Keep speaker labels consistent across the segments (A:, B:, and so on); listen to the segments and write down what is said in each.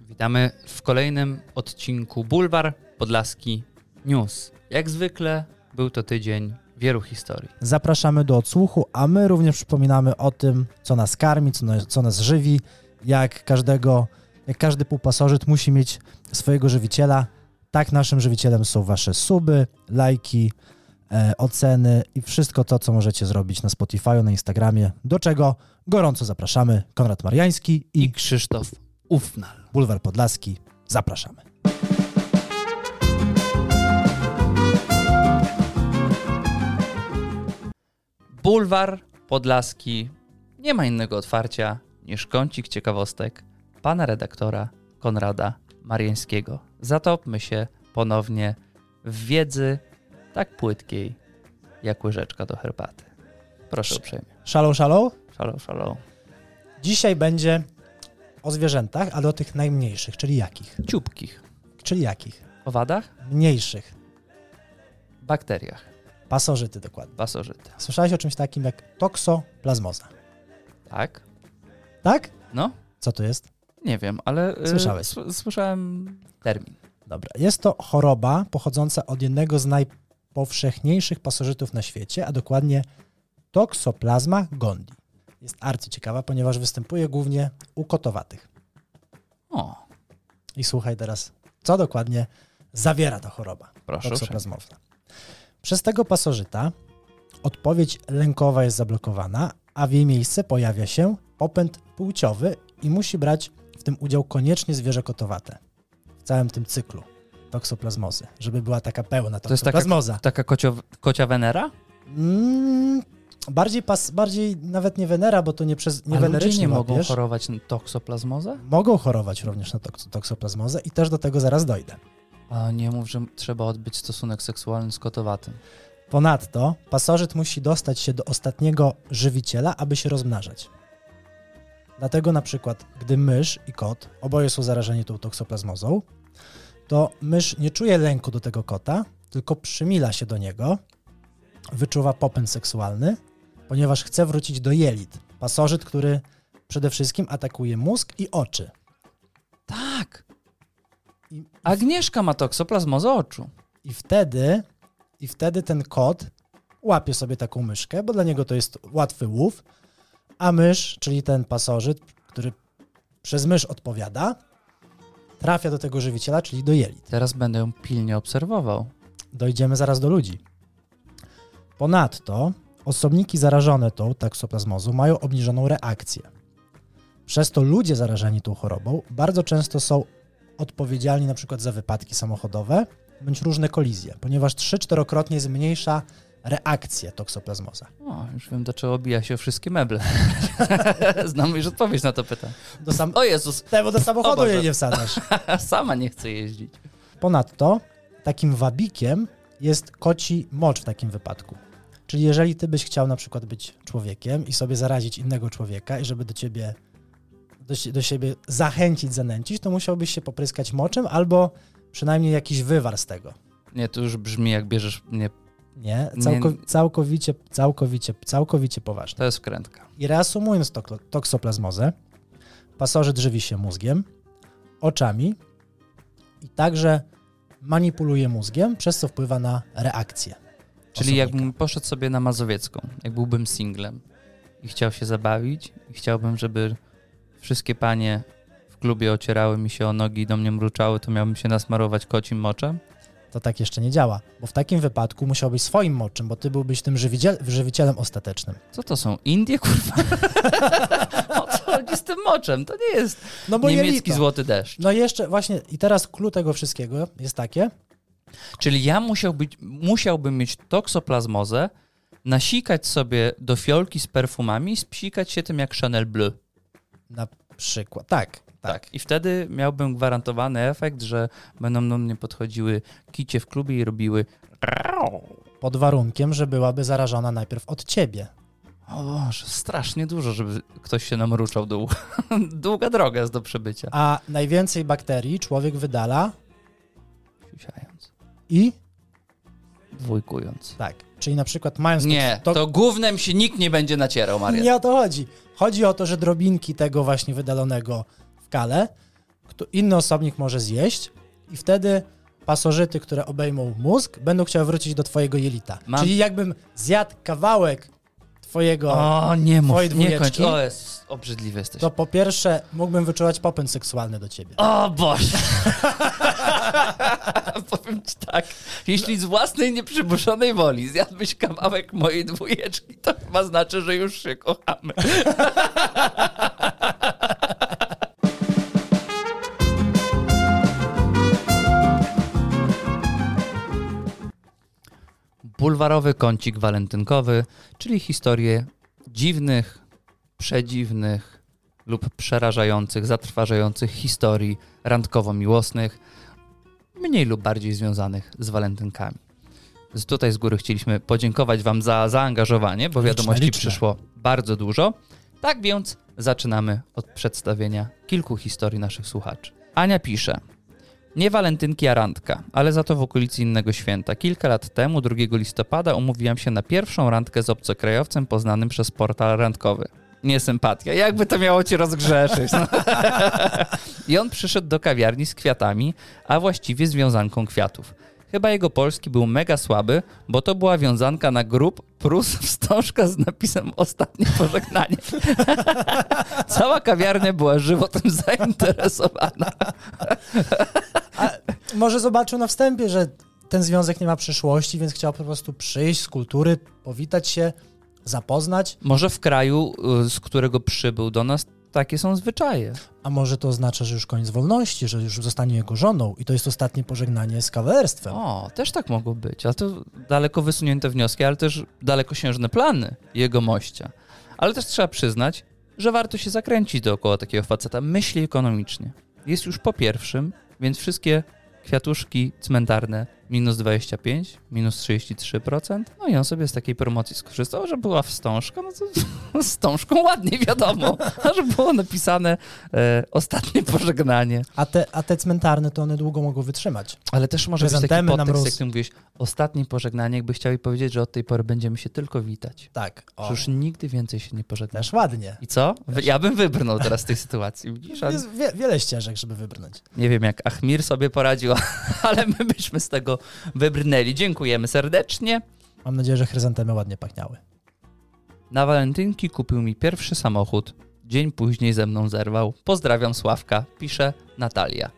A: Witamy w kolejnym odcinku Bulwar Podlaski News. Jak zwykle był to tydzień wielu historii.
B: Zapraszamy do odsłuchu, a my również przypominamy o tym, co nas karmi, co nas, co nas żywi, jak każdego, jak każdy półpasożyt musi mieć swojego żywiciela. Tak naszym żywicielem są wasze suby, lajki, e, oceny i wszystko to, co możecie zrobić na Spotify, na Instagramie, do czego gorąco zapraszamy. Konrad Mariański
A: I
B: i
A: Krzysztof Ufnal.
B: Bulwar Podlaski. Zapraszamy.
A: Bulwar Podlaski nie ma innego otwarcia niż kącik ciekawostek pana redaktora Konrada Mariańskiego. Zatopmy się ponownie w wiedzy tak płytkiej jak łyżeczka do herbaty. Proszę uprzejmie.
B: Szalą, szalą.
A: Szalom, szalom.
B: Dzisiaj będzie o zwierzętach, ale o tych najmniejszych, czyli jakich?
A: Ciupkich.
B: Czyli jakich?
A: Owadach?
B: Mniejszych.
A: Bakteriach.
B: Pasożyty dokładnie.
A: Pasożyty.
B: Słyszałeś o czymś takim jak toksoplazmoza,
A: Tak?
B: tak?
A: No?
B: Co to jest?
A: Nie wiem, ale. y,
B: Słyszałeś.
A: s- Słyszałem termin.
B: Dobra, jest to choroba pochodząca od jednego z najpowszechniejszych pasożytów na świecie, a dokładnie toksoplazma gondii. Jest arcyciekawa, ponieważ występuje głównie u kotowatych.
A: O,
B: I słuchaj teraz, co dokładnie zawiera ta choroba
A: proszę. uprzejmie.
B: toksoplazmowa. Przez tego pasożyta odpowiedź lękowa jest zablokowana, a w jej miejsce pojawia się popęd płciowy i musi brać w tym udział koniecznie zwierzę kotowate. W całym tym cyklu toksoplazmozy, żeby była taka pełna
A: To jest taka-
B: toksoplazmoza.
A: Taka kocio, kocia Wenera?
B: Mm, bardziej, pas, bardziej nawet nie wenera, bo to nie przez nie
A: A ludzie
B: wenerycznie
A: nie mogą
B: łapiesz.
A: chorować na toksoplazmozę?
B: Mogą chorować również na toks- toksoplazmozę i też do tego zaraz dojdę.
A: A nie mów, że trzeba odbyć stosunek seksualny z kotowatym.
B: Ponadto pasożyt musi dostać się do ostatniego żywiciela, aby się rozmnażać. Dlatego na przykład, gdy mysz i kot oboje są zarażeni tą toksoplazmozą, to mysz nie czuje lęku do tego kota, tylko przymila się do niego, wyczuwa popęd seksualny, ponieważ chce wrócić do jelit. Pasożyt, który przede wszystkim atakuje mózg i oczy.
A: Tak!
B: I,
A: Agnieszka ma toksoplazmozę oczu.
B: I wtedy, i wtedy ten kot łapie sobie taką myszkę, bo dla niego to jest łatwy łów, a mysz, czyli ten pasożyt, który przez mysz odpowiada, trafia do tego żywiciela, czyli do jelit.
A: Teraz będę ją pilnie obserwował.
B: Dojdziemy zaraz do ludzi. Ponadto osobniki zarażone tą taksoplazmozą mają obniżoną reakcję. Przez to ludzie zarażeni tą chorobą bardzo często są odpowiedzialni na przykład za wypadki samochodowe bądź różne kolizje, ponieważ 3-4-krotnie zmniejsza reakcję toksoplazmoza.
A: O, już wiem, do czego obija się wszystkie meble. Znam już odpowiedź na to pytanie.
B: Do sam...
A: O Jezus,
B: Tego do
A: O
B: samochodu
A: Boże.
B: jej nie wsadzasz.
A: sama nie chcę jeździć.
B: Ponadto takim wabikiem jest koci mocz w takim wypadku. Czyli jeżeli ty byś chciał na przykład być człowiekiem i sobie zarazić innego człowieka i żeby do ciebie do, si- do siebie zachęcić, zanęcić, to musiałbyś się popryskać moczem albo przynajmniej jakiś wywar z tego.
A: Nie, to już brzmi jak bierzesz mnie.
B: Nie?
A: Nie.
B: Całko, Całkowicie, całkowicie, całkowicie poważne.
A: To jest wkrętka.
B: I reasumując toklo- toksoplazmozę, pasożyt żywi się mózgiem, oczami i także manipuluje mózgiem, przez co wpływa na reakcję.
A: Czyli
B: osobnika.
A: jakbym poszedł sobie na Mazowiecką, jak byłbym singlem i chciał się zabawić i chciałbym, żeby wszystkie panie w klubie ocierały mi się o nogi i do mnie mruczały, to miałbym się nasmarować kocim moczem?
B: To tak jeszcze nie działa, bo w takim wypadku musiałbyś swoim moczem, bo ty byłbyś tym żywicie- żywicielem ostatecznym.
A: Co to są? Indie, kurwa? o co chodzi z tym moczem? To nie jest
B: No bo
A: niemiecki
B: jelito.
A: złoty deszcz.
B: No i jeszcze właśnie, i teraz clue tego wszystkiego jest takie,
A: Czyli ja musiał być, musiałbym mieć toksoplazmozę, nasikać sobie do fiolki z perfumami i spsikać się tym jak Chanel Bleu.
B: na przykład, tak, tak,
A: I wtedy miałbym gwarantowany efekt, że będą do mnie podchodziły kicie w klubie i robiły.
B: pod warunkiem, że byłaby zarażona najpierw od ciebie.
A: O Boże, strasznie dużo, żeby ktoś się namruczał do ucha. Długa droga jest do przebycia.
B: A najwięcej bakterii człowiek wydala
A: Siusiając,
B: i
A: dwójkując.
B: Tak. Czyli na przykład mając.
A: Nie,
B: to,
A: to głównym się nikt nie będzie nacierał, Maria.
B: nie o to chodzi. Chodzi o to, że drobinki tego właśnie wydalonego w kale kto- inny osobnik może zjeść i wtedy pasożyty, które obejmą mózg, będą chciały wrócić do twojego jelita.
A: Mam-
B: Czyli jakbym zjadł kawałek twojego,
A: O, nie
B: Twoje
A: mów, nie kończ.
B: dwójeczki?
A: O, jest, obrzydliwy jesteś.
B: to po pierwsze mógłbym wyczuwać popęd seksualny do ciebie.
A: O Boże! Powiem ci tak, jeśli z własnej nieprzymuszonej woli zjadłbyś kawałek mojej dwójeczki, to chyba znaczy, że już się kochamy. Bulwarowy kącik walentynkowy, czyli historie dziwnych, przedziwnych lub przerażających, zatrważających historii randkowo-miłosnych, mniej lub bardziej związanych z walentynkami. Z tutaj z góry chcieliśmy podziękować Wam za zaangażowanie, bo
B: Liczne,
A: wiadomości
B: liczne.
A: przyszło bardzo dużo. Tak więc zaczynamy od przedstawienia kilku historii naszych słuchaczy. Ania pisze. Nie walentynki, a randka, ale za to w okolicy innego święta. Kilka lat temu, 2 listopada, umówiłam się na pierwszą randkę z obcokrajowcem poznanym przez portal randkowy. Nie sympatia. Jakby to miało cię rozgrzeszyć. No. I on przyszedł do kawiarni z kwiatami, a właściwie z wiązanką kwiatów. Chyba jego polski był mega słaby, bo to była wiązanka na grób plus wstążka z napisem ostatnie pożegnanie. Cała kawiarnia była żywo tym zainteresowana.
B: Może zobaczył na wstępie, że ten związek nie ma przyszłości, więc chciał po prostu przyjść z kultury, powitać się, zapoznać,
A: Może w kraju, y, z którego przybył do nas, takie są zwyczaje.
B: a może to oznacza, że już koniec wolności, że już zostanie jego żoną i to jest ostatnie pożegnanie z kawalerstwem.
A: O, też tak mogło być, ale to daleko wysunięte wnioski, ale też dalekosiężne plany jego mościa. Ale też trzeba przyznać, że warto się zakręcić dookoła takiego faceta. Myśli ekonomicznie. Jest już po pierwszym, więc wszystkie kwiatuszki cmentarne minus 25, minus 33%. No i on sobie z takiej promocji skorzystał, że była wstążka, no to wstążką ładnie wiadomo, a że było napisane e, ostatnie pożegnanie.
B: A, te, a te cmentarne to one długo mogą wytrzymać.
A: Ale też może być taki
B: Prezentemy na
A: podtekst,
B: mróz.
A: jak ty mówisz, ostatnie pożegnanie, jakby chciał powiedzieć, że od tej pory będziemy się tylko witać.
B: Tak.
A: Że
B: O,
A: już nigdy więcej się nie pożegnasz.
B: też ładnie.
A: I co? Wy- Ja bym wybrnął teraz z tej sytuacji. Widzisz? Ale
B: Jest wie, wiele ścieżek, żeby wybrnąć.
A: Nie wiem, jak Achmir sobie poradził, ale my byśmy z tego wybrnęli. Dziękujemy serdecznie.
B: Mam nadzieję, że chryzantemy ładnie pachniały.
A: Na walentynki kupił mi pierwszy samochód. Dzień później ze mną zerwał. Pozdrawiam Sławka, pisze Natalia.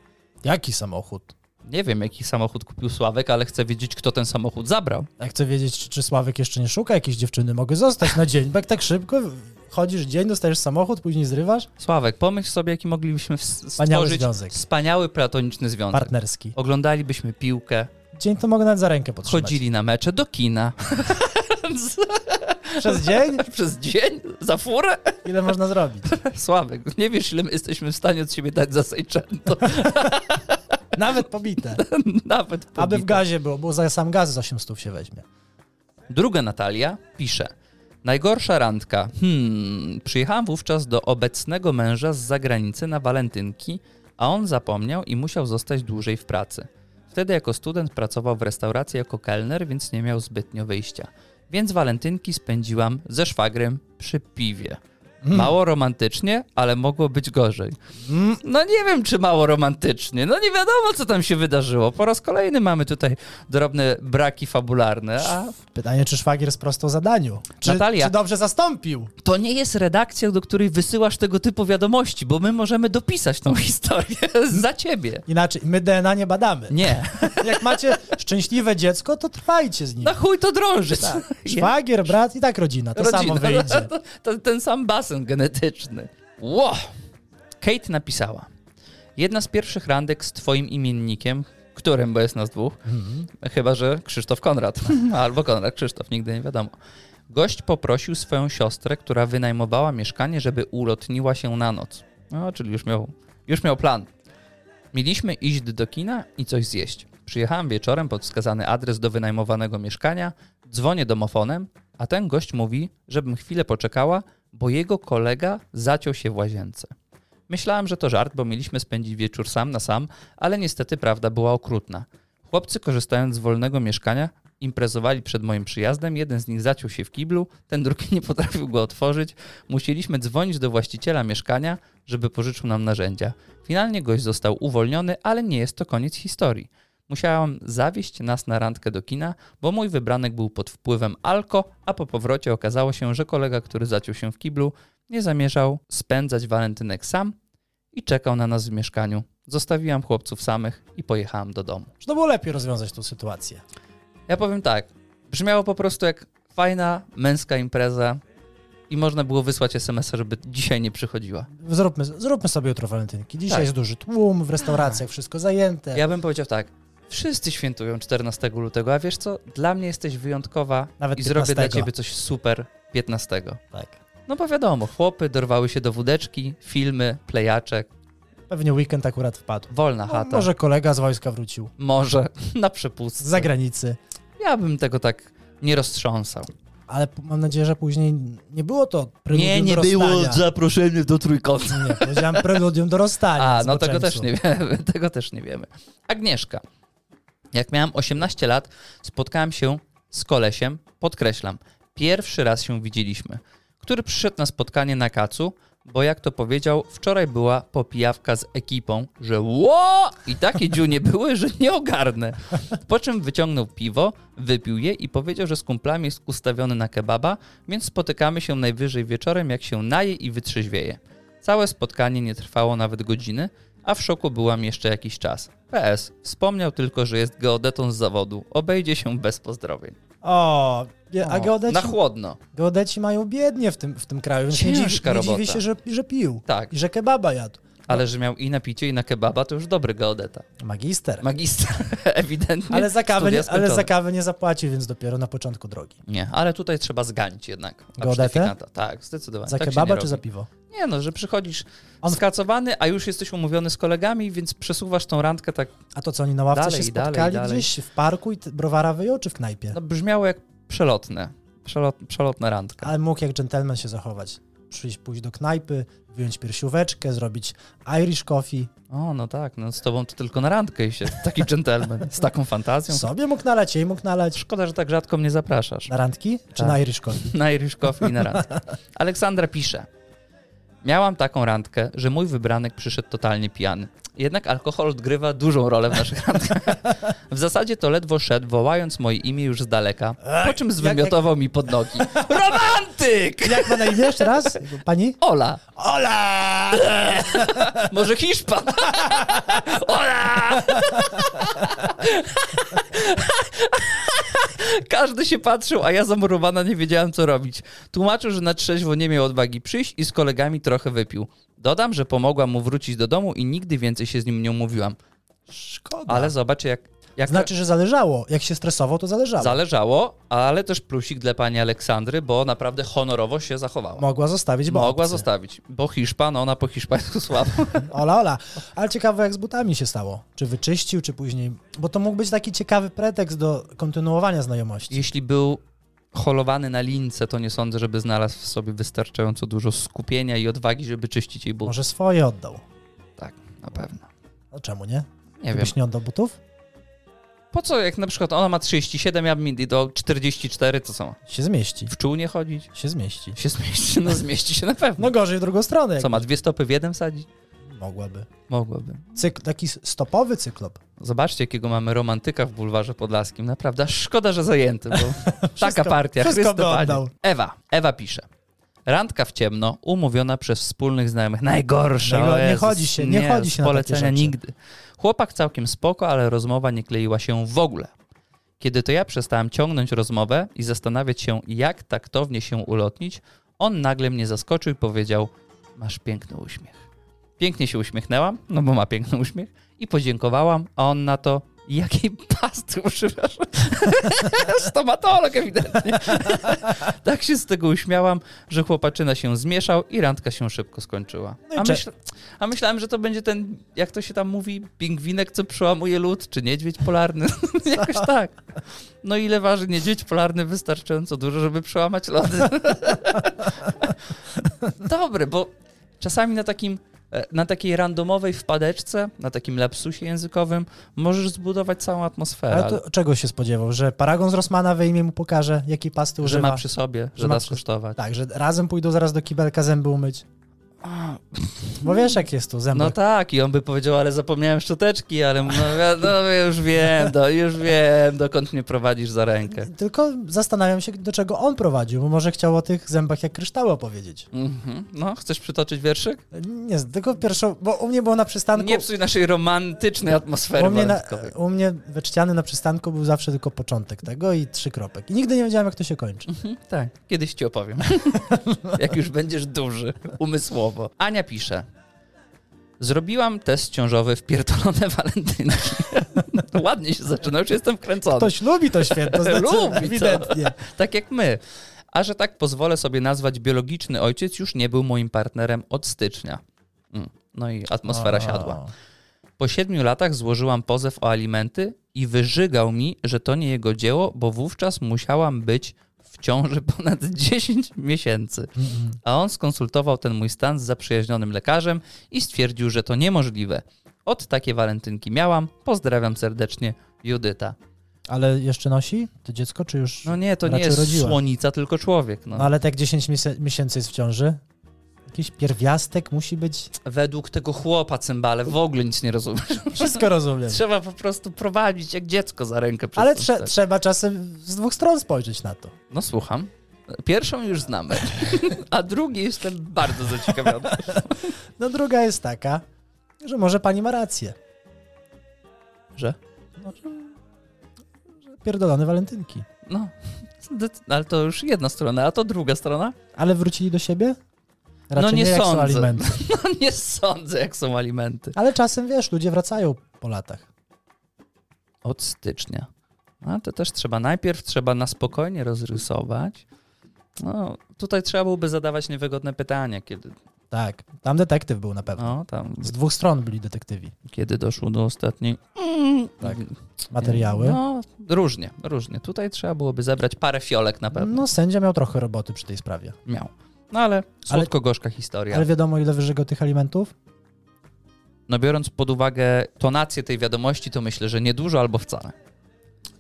B: Jaki samochód?
A: Nie wiem, jaki samochód kupił Sławek, ale chcę wiedzieć, kto ten samochód zabrał.
B: Ja chcę wiedzieć, czy, czy Sławek jeszcze nie szuka jakiejś dziewczyny. Mogę zostać na dzień, bo jak tak szybko chodzisz dzień, dostajesz samochód, później zrywasz.
A: Sławek, pomyśl sobie, jaki moglibyśmy ws-
B: Wspaniały
A: stworzyć
B: związek.
A: wspaniały platoniczny związek.
B: Partnerski.
A: Oglądalibyśmy piłkę,
B: Dzień to mogę nawet za rękę podtrzymać.
A: chodzili na mecze, do kina.
B: Przez dzień?
A: Przez dzień? Za furę?
B: Ile można zrobić?
A: Sławek, nie wiesz, ile my jesteśmy w stanie od siebie dać za Sejczęto.
B: Nawet pobite.
A: Nawet po
B: Aby w
A: bit-
B: gazie było, bo za sam gaz z 800 się weźmie.
A: Druga Natalia pisze. Najgorsza randka. Hmm. Przyjechałam wówczas do obecnego męża z zagranicy na walentynki, a on zapomniał i musiał zostać dłużej w pracy. Wtedy jako student pracował w restauracji jako kelner, więc nie miał zbytnio wyjścia. Więc walentynki spędziłam ze szwagrem przy piwie. Mało romantycznie, ale mogło być gorzej.
B: Mm.
A: No nie wiem, czy mało romantycznie. No nie wiadomo, co tam się wydarzyło. Po raz kolejny mamy tutaj drobne braki fabularne, a
B: Pytanie, czy szwagier sprostał zadaniu? Czy,
A: Natalia.
B: czy dobrze zastąpił?
A: To nie jest redakcja, do której wysyłasz tego typu wiadomości, bo my możemy dopisać tą historię za ciebie.
B: Inaczej, my DNA nie badamy.
A: Nie.
B: Jak macie szczęśliwe dziecko, to trwajcie z nim.
A: Na chuj to drążyć.
B: Szwagier, brat i tak rodzina, Tak. to samo wyjdzie.
A: To, to, ten sam basen genetyczny. Ło! Kate napisała. Jedna z pierwszych randek z twoim imiennikiem, którym, bo jest nas dwóch,
B: Mhm.
A: chyba że Krzysztof Konrad, albo Konrad Krzysztof, nigdy nie wiadomo. Gość poprosił swoją siostrę, która wynajmowała mieszkanie, żeby ulotniła się na noc. No, czyli już miał, już miał plan. Mieliśmy iść do kina i coś zjeść. Przyjechałem wieczorem pod wskazany adres do wynajmowanego mieszkania, dzwonię domofonem, a ten gość mówi, żebym chwilę poczekała, bo jego kolega zaciął się w łazience. Myślałem, że to żart, bo mieliśmy spędzić wieczór sam na sam, ale niestety prawda była okrutna. Chłopcy, korzystając z wolnego mieszkania, Imprezowali przed moim przyjazdem, jeden z nich zaciął się w kiblu, ten drugi nie potrafił go otworzyć. Musieliśmy dzwonić do właściciela mieszkania, żeby pożyczył nam narzędzia. Finalnie gość został uwolniony, ale nie jest to koniec historii. Musiałam zawieźć nas na randkę do kina, bo mój wybranek był pod wpływem alko, a po powrocie okazało się, że kolega, który zaciął się w kiblu, nie zamierzał spędzać walentynek sam i czekał na nas w mieszkaniu. Zostawiłam chłopców samych i pojechałam do domu.
B: Że to było lepiej rozwiązać tą sytuację.
A: Ja powiem tak, brzmiało po prostu jak fajna męska impreza i można było wysłać SMS-a, żeby dzisiaj nie przychodziła.
B: Zróbmy, zróbmy sobie jutro walentynki. Dzisiaj
A: Tak.
B: jest duży tłum, w restauracjach wszystko zajęte.
A: Ja bym powiedział tak, wszyscy świętują 14 lutego, a wiesz co, dla mnie jesteś wyjątkowa
B: Nawet
A: i zrobię dla
B: 15.
A: ciebie coś super 15.
B: Tak.
A: No bo wiadomo, chłopy dorwały się do wódeczki, filmy, plejaczek,
B: Pewnie weekend akurat wpadł.
A: wolna
B: No,
A: chata.
B: może kolega z wojska wrócił.
A: Może, na
B: Z
A: przepustce.
B: zagranicy.
A: Ja bym tego tak nie roztrząsał.
B: Ale p- mam nadzieję, że później nie było to preludium do rozstania.
A: zaproszenie do trójkąta.
B: Nie, powiedziałem preludium do rozstania.
A: A, no
B: zboczeńcu.
A: tego też nie wiemy, tego też nie wiemy. Agnieszka. Jak miałam 18 lat, spotkałam się z kolesiem, podkreślam, pierwszy raz się widzieliśmy, który przyszedł na spotkanie na kacu, bo jak to powiedział, wczoraj była popijawka z ekipą, że ło! I takie dziunie były, że nie ogarnę. Po czym wyciągnął piwo, wypił je i powiedział, że z kumplami jest ustawiony na kebaba, więc spotykamy się najwyżej wieczorem, jak się naje i wytrzeźwieje. Całe spotkanie nie trwało nawet godziny, a w szoku byłam jeszcze jakiś czas. PS. Wspomniał tylko, że jest geodetą z zawodu. Obejdzie się bez pozdrowień.
B: O, je- a
A: O,
B: geodeci,
A: Na chłodno.
B: geodeci mają biednie w tym, w tym kraju. więc Nie
A: Ciężka
B: dziwi, nie dziwię
A: robota.
B: się, że, że pił.
A: Tak,
B: I że kebaba jadł.
A: ale że miał i na picie, i na kebaba, to już dobry geodeta.
B: Magister.
A: Magister, ewidentnie.
B: Tak. ale, za kawę
A: studia
B: nie, ale za
A: skończone.
B: kawę nie zapłacił, więc dopiero na początku drogi.
A: Nie, ale tutaj trzeba zganić jednak.
B: Geodetę?
A: certyfikata. Tak, zdecydowanie.
B: Za
A: tak się
B: kebaba
A: nie
B: czy za
A: robi.
B: piwo?
A: Nie no, że przychodzisz
B: On-
A: skacowany, a już jesteś umówiony z kolegami, więc przesuwasz tą randkę tak
B: A to co, oni na ławce
A: Dalej,
B: się spotkali
A: dalej, dalej.
B: gdzieś w parku i t- browara wyjął, czy w knajpie?
A: No brzmiało jak przelotne. Przelot, przelotna randka.
B: Ale mógł jak dżentelmen się zachować. Przyjść, pójść do knajpy, wyjąć piersióweczkę, zrobić Irish coffee.
A: O, no tak, no z tobą to tylko na randkę i się. Taki dżentelmen z taką fantazją.
B: Sobie mógł nalać, jej mógł nalać.
A: Szkoda, że tak rzadko mnie zapraszasz.
B: Na randki czy
A: Tak.
B: na Irish coffee?
A: Na Irish Coffee i na randkę. Aleksandra pisze. Miałam taką randkę, że mój wybranek przyszedł totalnie pijany. Jednak alkohol odgrywa dużą rolę w naszych randkach. W zasadzie to ledwo szedł, wołając moje imię już z daleka, po czym zwymiotował mi pod nogi. Romantyk!
B: Jak ma na imię jeszcze raz? Pani?
A: Ola!
B: Ola!
A: Może Hiszpan? Ola! Każdy się patrzył, a ja zamurowana nie wiedziałem, co robić. Tłumaczył, że na trzeźwo nie miał odwagi przyjść i z kolegami trochę wypił. Dodam, że pomogłam mu wrócić do domu i nigdy więcej się z nim nie umówiłam.
B: Szkoda.
A: Ale zobaczcie, jak, jak
B: Znaczy, że zależało. Jak się stresował, to zależało.
A: zależało, ale też plusik dla pani Aleksandry, bo naprawdę honorowo się zachowała.
B: Mogła zostawić, bo
A: Mogła
B: obcy.
A: zostawić, bo Hiszpan, ona po hiszpańsku słabo.
B: Ola, ola. Ale ciekawe, jak z butami się stało. Czy wyczyścił, czy później. Bo to mógł być taki ciekawy pretekst do kontynuowania znajomości.
A: Jeśli był holowany na lince, to nie sądzę, żeby znalazł w sobie wystarczająco dużo skupienia i odwagi, żeby czyścić jej buty.
B: Może swoje oddał.
A: Tak, na pewno.
B: No czemu nie?
A: Nie wiem.
B: Byś nie oddał butów?
A: Po co, jak na przykład ona ma 37, ja bym jej do 44, to co?
B: Się zmieści.
A: W czół nie chodzić?
B: Się zmieści.
A: Się zmieści, no zmieści się na
B: No tak.
A: pewno.
B: gorzej w drugą stronę. jak
A: Co, ma dwie stopy w jeden sadzić?
B: Mogłaby.
A: Mogłaby.
B: Cykl, taki stopowy cyklop.
A: Zobaczcie, jakiego mamy romantyka w bulwarze podlaskim. Naprawdę, aż szkoda, że zajęty, bo taka
B: Wszystko-
A: partia.
B: wszystko
A: Chryste
B: by
A: Panie.
B: oddał.
A: Ewa, Ewa pisze. Randka w ciemno, umówiona przez wspólnych znajomych. Najgorsza.
B: Najgo-
A: o
B: nie
A: Jezus,
B: chodzi się- nie chodzi
A: z
B: się na takie
A: polecenia
B: rzeczy.
A: nigdy. Chłopak całkiem spoko, ale rozmowa nie kleiła się w ogóle. Kiedy to ja przestałem ciągnąć rozmowę i zastanawiać się, jak taktownie się ulotnić, on nagle mnie zaskoczył i powiedział: Masz piękny uśmiech. Pięknie się uśmiechnęłam, no bo ma piękny uśmiech, i podziękowałam, a on na to. Jakiej pasty używasz? Stomatolog ewidentnie. tak się z tego uśmiałam, że chłopaczyna się zmieszał i randka się szybko skończyła.
B: No i
A: A,
B: cze-
A: myśl, a myślałem, że to będzie ten, jak to się tam mówi, pingwinek, co przełamuje lód, czy niedźwiedź polarny. Jakoś tak. No ile waży niedźwiedź polarny wystarczająco dużo, żeby przełamać lody? Dobry, bo czasami na takim e, na takiej randomowej wpadeczce, na takim lapsusie językowym, możesz zbudować całą atmosferę.
B: Ale to czego się spodziewał? Że paragon z Rosmana wyjmie mu pokaże, jakiej pasty
A: Że
B: używa?
A: ma przy sobie, że,
B: Że ma
A: da
B: przy-
A: skosztować.
B: Tak, że razem pójdą zaraz do kibelka zęby umyć. Bo wiesz, jak jest tu zęby.
A: No
B: No
A: tak, i on by powiedział, ale zapomniałem szczoteczki, ale no, ja- no już wiem, no, już wiem, dokąd mnie prowadzisz za rękę.
B: Tylko zastanawiam się, do czego on prowadził, bo może chciał o tych zębach jak kryształy opowiedzieć.
A: Mhm. No, chcesz przytoczyć wierszyk?
B: Nie, tylko pierwszą, bo u mnie było na przystanku...
A: Nie psuj naszej romantycznej atmosfery
B: u mnie, na,
A: walentynkowej.
B: u mnie we Czciany na przystanku był zawsze tylko początek tego i trzy kropek. I nigdy nie wiedziałem, jak to się kończy.
A: Mhm, tak, kiedyś ci opowiem. Jak już będziesz duży, umysłowo. Ania pisze. Zrobiłam test ciążowy w pierdolone walentynki. Ładnie się zaczyna, już jestem wkręcony.
B: Ktoś lubi to święto, znaczy,
A: Lubi to.
B: ewidentnie.
A: Tak jak my. A że tak pozwolę sobie nazwać biologiczny ojciec, już nie był moim partnerem od stycznia. Mm, No i atmosfera siadła. Po siedmiu latach złożyłam pozew o alimenty i wyżygał mi, że to nie jego dzieło, bo wówczas musiałam być w ciąży ponad 10 miesięcy.
B: Mm,
A: A on skonsultował ten mój stan z zaprzyjaźnionym lekarzem i stwierdził, że to niemożliwe. Od takie walentynki miałam. Pozdrawiam serdecznie, Judyta.
B: Ale jeszcze nosi to dziecko, czy już...
A: No nie, to nie
B: Raczej
A: jest
B: Znaczy rodziła.
A: słonica, tylko człowiek. No.
B: No ale tak 10 miesię- miesięcy jest w ciąży. Jakiś pierwiastek musi być.
A: według tego chłopa cymbale w ogóle nic nie rozumiem.
B: Wszystko rozumiem.
A: Trzeba po prostu prowadzić jak dziecko za rękę. Przez
B: Ale
A: ten
B: trze-
A: ser.
B: trzeba czasem z dwóch stron spojrzeć na to.
A: No słucham. Pierwszą już znamy, a drugi jestem bardzo zaciekawiony.
B: No druga jest taka, że może pani ma rację.
A: Że?
B: No, że, że pierdolone walentynki.
A: No, zdec- ale to już jedna strona, a to druga strona?
B: Ale wrócili do siebie? Raczej
A: No nie
B: jak
A: sądzę.
B: są alimenty.
A: No nie sądzę, jak są alimenty.
B: Ale czasem wiesz, ludzie wracają po latach.
A: Od stycznia. No to też trzeba, najpierw trzeba na spokojnie rozrysować. No, tutaj trzeba byłoby zadawać niewygodne pytania, kiedy,
B: Tak. Tam detektyw był na pewno.
A: no, tam,
B: Z dwóch stron byli detektywi.
A: kiedy doszło do ostatniej...
B: Tak. Materiały. No,
A: No, różnie, różnie. Tutaj trzeba byłoby zebrać parę fiolek na pewno.
B: No, sędzia miał trochę roboty przy tej sprawie.
A: Miał. No ale słodko-gorzka historia.
B: Ale wiadomo, ile wyżego tych alimentów?
A: No biorąc pod uwagę tonację tej wiadomości, to myślę, że niedużo albo wcale.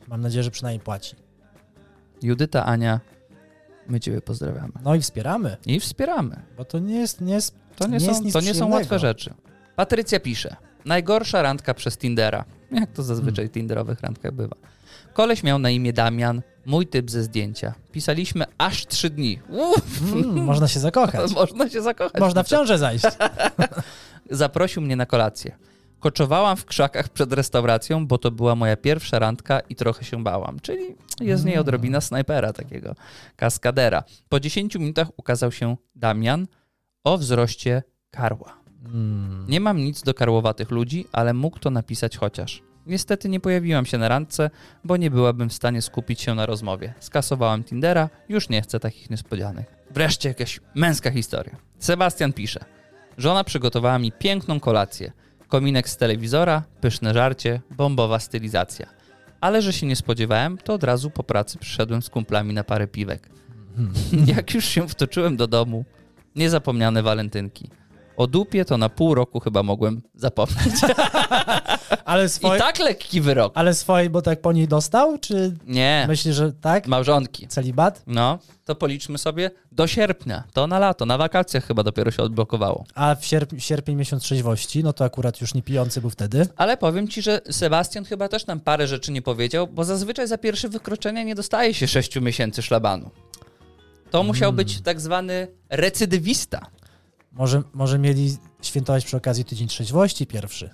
B: Mam nadzieję, że przynajmniej płaci.
A: Judyta, Ania, my ciebie pozdrawiamy.
B: No i wspieramy,
A: I wspieramy.
B: bo to nie jest, nie jest
A: To nie,
B: Nie jest
A: są,
B: nic
A: to nie są
B: przyjemnego.
A: łatwe rzeczy. Patrycja pisze. Najgorsza randka przez Tindera. Jak to zazwyczaj
B: Hmm.
A: w tinderowych randkach bywa. Koleś miał na imię Damian, mój typ ze zdjęcia. Pisaliśmy aż trzy dni. Uff,
B: mm, można się zakochać.
A: można się zakochać.
B: Można w ciążę zajść.
A: zaprosił mnie na kolację. Koczowałam w krzakach przed restauracją, bo to była moja pierwsza randka i trochę się bałam. Czyli jest w niej odrobina snajpera takiego, kaskadera. Po 10 minutach ukazał się Damian o wzroście karła.
B: Mm,
A: Nie mam nic do karłowatych ludzi, ale mógł to napisać chociaż. Niestety nie pojawiłam się na randce, bo nie byłabym w stanie skupić się na rozmowie. Skasowałam Tindera, już nie chcę takich niespodzianek. Wreszcie jakaś męska historia. Sebastian pisze. Żona przygotowała mi piękną kolację. Kominek z telewizora, pyszne żarcie, bombowa stylizacja. Ale że się nie spodziewałem, to od razu po pracy przyszedłem z kumplami na parę piwek. Jak już się wtoczyłem do domu, niezapomniane walentynki. O dupie to na pół roku chyba mogłem zapomnieć.
B: Ale
A: I
B: swoj,
A: tak lekki wyrok.
B: ale swojej, bo tak po niej dostał? Czy
A: Nie,
B: myślisz, że tak?
A: małżonki.
B: Celibat?
A: No, to policzmy sobie do sierpnia. To na lato, na wakacjach chyba dopiero się odblokowało.
B: A w sierp- sierpień miesiąc trzeźwości, no to akurat już nie pijący był wtedy.
A: Ale powiem ci, że Sebastian chyba też nam parę rzeczy nie powiedział, bo zazwyczaj za pierwsze wykroczenie nie dostaje się sześciu miesięcy szlabanu. To musiał być tak zwany recydywista.
B: Może, może mieli świętować przy okazji tydzień trzeźwości pierwszy.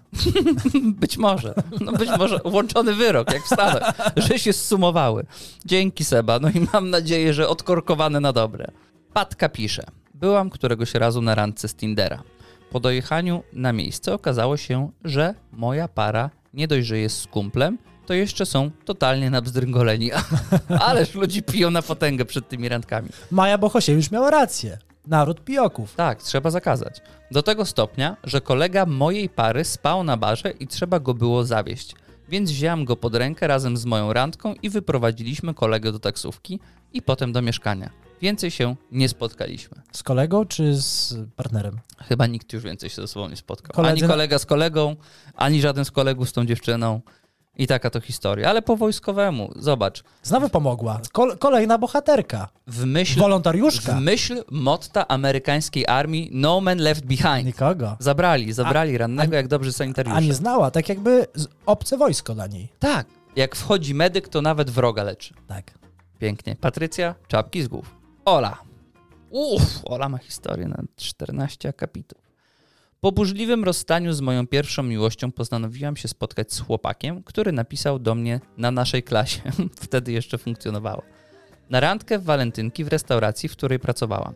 A: Być może. No być może łączony wyrok, jak w Stanach, że się zsumowały. Dzięki Seba, no i mam nadzieję, że odkorkowane na dobre. Patka pisze. Byłam któregoś razu na randce z Tindera. Po dojechaniu na miejsce okazało się, że moja para nie dość, że jest z kumplem, to jeszcze są totalnie nabzdryngoleni. Ależ ludzi piją na potęgę przed tymi randkami.
B: Maja Bohosiewicz miała rację. Naród pijoków.
A: Tak, trzeba zakazać. Do tego stopnia, że kolega mojej pary spał na barze i trzeba go było zawieść. Więc wziąłem go pod rękę razem z moją randką i wyprowadziliśmy kolegę do taksówki i potem do mieszkania. Więcej się nie spotkaliśmy.
B: Z kolegą czy z partnerem?
A: Chyba nikt już więcej się ze sobą nie spotkał.
B: Koledzy
A: Ani
B: na-
A: kolega z kolegą, ani żaden z kolegów z tą dziewczyną. I taka to historia. Ale po wojskowemu, zobacz,
B: Znowu pomogła. Kol- kolejna bohaterka.
A: w myśl, w
B: Wolontariuszka.
A: myśl motta amerykańskiej armii No Man Left Behind.
B: Nikogo.
A: Zabrali, zabrali rannego jak dobrzy sanitariusze.
B: A nie znała, tak jakby z- obce wojsko dla niej.
A: Tak, jak wchodzi medyk, to nawet wroga leczy.
B: Tak.
A: Pięknie. Patrycja, czapki z głów. Ola. Uff, Ola ma historię na 14 akapitów. Po burzliwym rozstaniu z moją pierwszą miłością postanowiłam się spotkać z chłopakiem, który napisał do mnie na naszej klasie. Wtedy jeszcze funkcjonowało. Na randkę w walentynki w restauracji, w której pracowałam.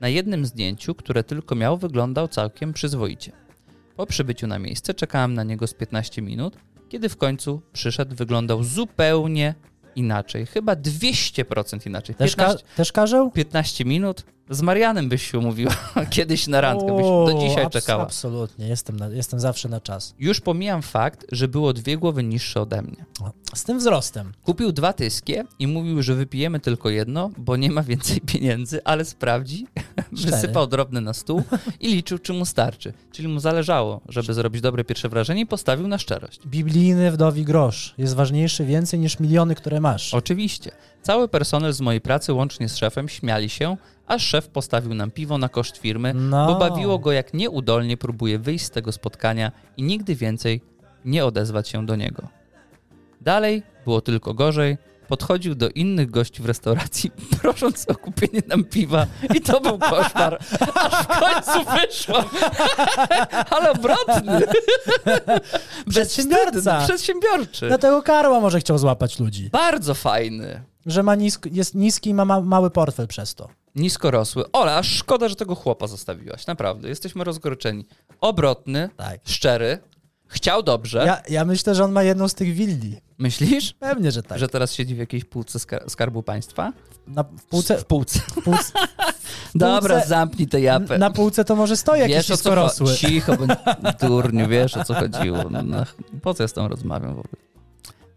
A: Na jednym zdjęciu, które tylko miał, wyglądał całkiem przyzwoicie. Po przybyciu na miejsce czekałam na niego z 15 minut, kiedy w końcu przyszedł, wyglądał zupełnie inaczej. Chyba 200% inaczej.
B: Też, ka-
A: 15,
B: też karzeł?
A: 15 minut? Z Marianem byś się umówiła kiedyś na randkę, byś do dzisiaj
B: abs-
A: czekała.
B: Absolutnie, jestem, na, jestem zawsze na czas.
A: Już pomijam fakt, że było dwie głowy niższe ode mnie.
B: Z tym wzrostem.
A: Kupił dwa tyskie i mówił, że wypijemy tylko jedno, bo nie ma więcej pieniędzy, ale sprawdzi. Wysypał drobne na stół i liczył, czy mu starczy. Czyli mu zależało, żeby zrobić dobre pierwsze wrażenie i postawił na szczerość.
B: Biblijny wdowi grosz jest ważniejszy więcej niż miliony, które masz.
A: Oczywiście. Cały personel z mojej pracy, łącznie z szefem, śmiali się, a szef postawił nam piwo na koszt firmy,
B: No.
A: bo bawiło go, jak nieudolnie próbuje wyjść z tego spotkania i nigdy więcej nie odezwać się do niego. Dalej było tylko gorzej. Podchodził do innych gości w restauracji, prosząc o kupienie nam piwa i to był koszmar. Aż w końcu wyszło. Ale obrotny.
B: Przedsiębiorca.
A: Przedsiębiorczy.
B: Dlatego Karła może chciał złapać ludzi,
A: Bardzo fajny.
B: że ma nisk- jest niski i ma, ma mały portfel przez to.
A: Niskorosły. Ola, aż szkoda, że tego chłopa zostawiłaś. Naprawdę, jesteśmy rozgoryczeni. Obrotny,
B: Tak.
A: szczery, chciał dobrze.
B: Ja, ja myślę, że on ma jedną z tych willi.
A: Myślisz,
B: Pewnie, że tak.
A: że teraz siedzi w jakiejś półce skar- Skarbu Państwa?
B: Na półce,
A: W półce.
B: w półce,
A: Dobra,
B: półce-
A: zamknij te japę.
B: na półce to może stoi jakiś
A: wiesz, o co
B: niskorosły.
A: chodzi. Cicho, bo durniu, wiesz o co chodziło. No, no, po co ja z tą rozmawiam w ogóle?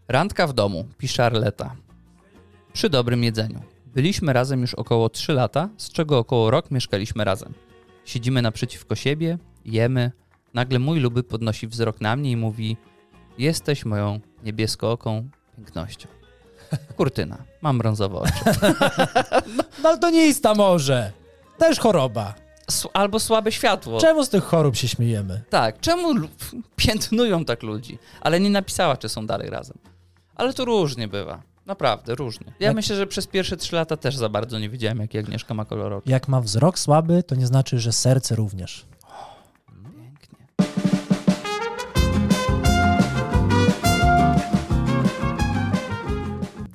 A: Randka w domu, pisze Arleta. Przy dobrym jedzeniu. Byliśmy razem już około 3 lata, z czego około rok mieszkaliśmy razem. Siedzimy naprzeciwko siebie, jemy. Nagle mój luby podnosi wzrok na mnie i mówi: Jesteś moją niebieskooką pięknością. Kurtyna, mam brązowe oczy.
B: No, Daltonista może. Też choroba.
A: S- albo słabe światło.
B: Czemu z tych chorób się śmiejemy?
A: Tak, czemu lu- piętnują tak ludzi? Ale nie napisała, czy są dalej razem. Ale to różnie bywa. Naprawdę, różnie. Ja
B: Jak-
A: myślę, że przez pierwsze trzy lata też za bardzo nie wiedziałem, jaki Agnieszka ma kolor oczu.
B: Jak ma wzrok słaby, to nie znaczy, że serce również.
A: Pięknie.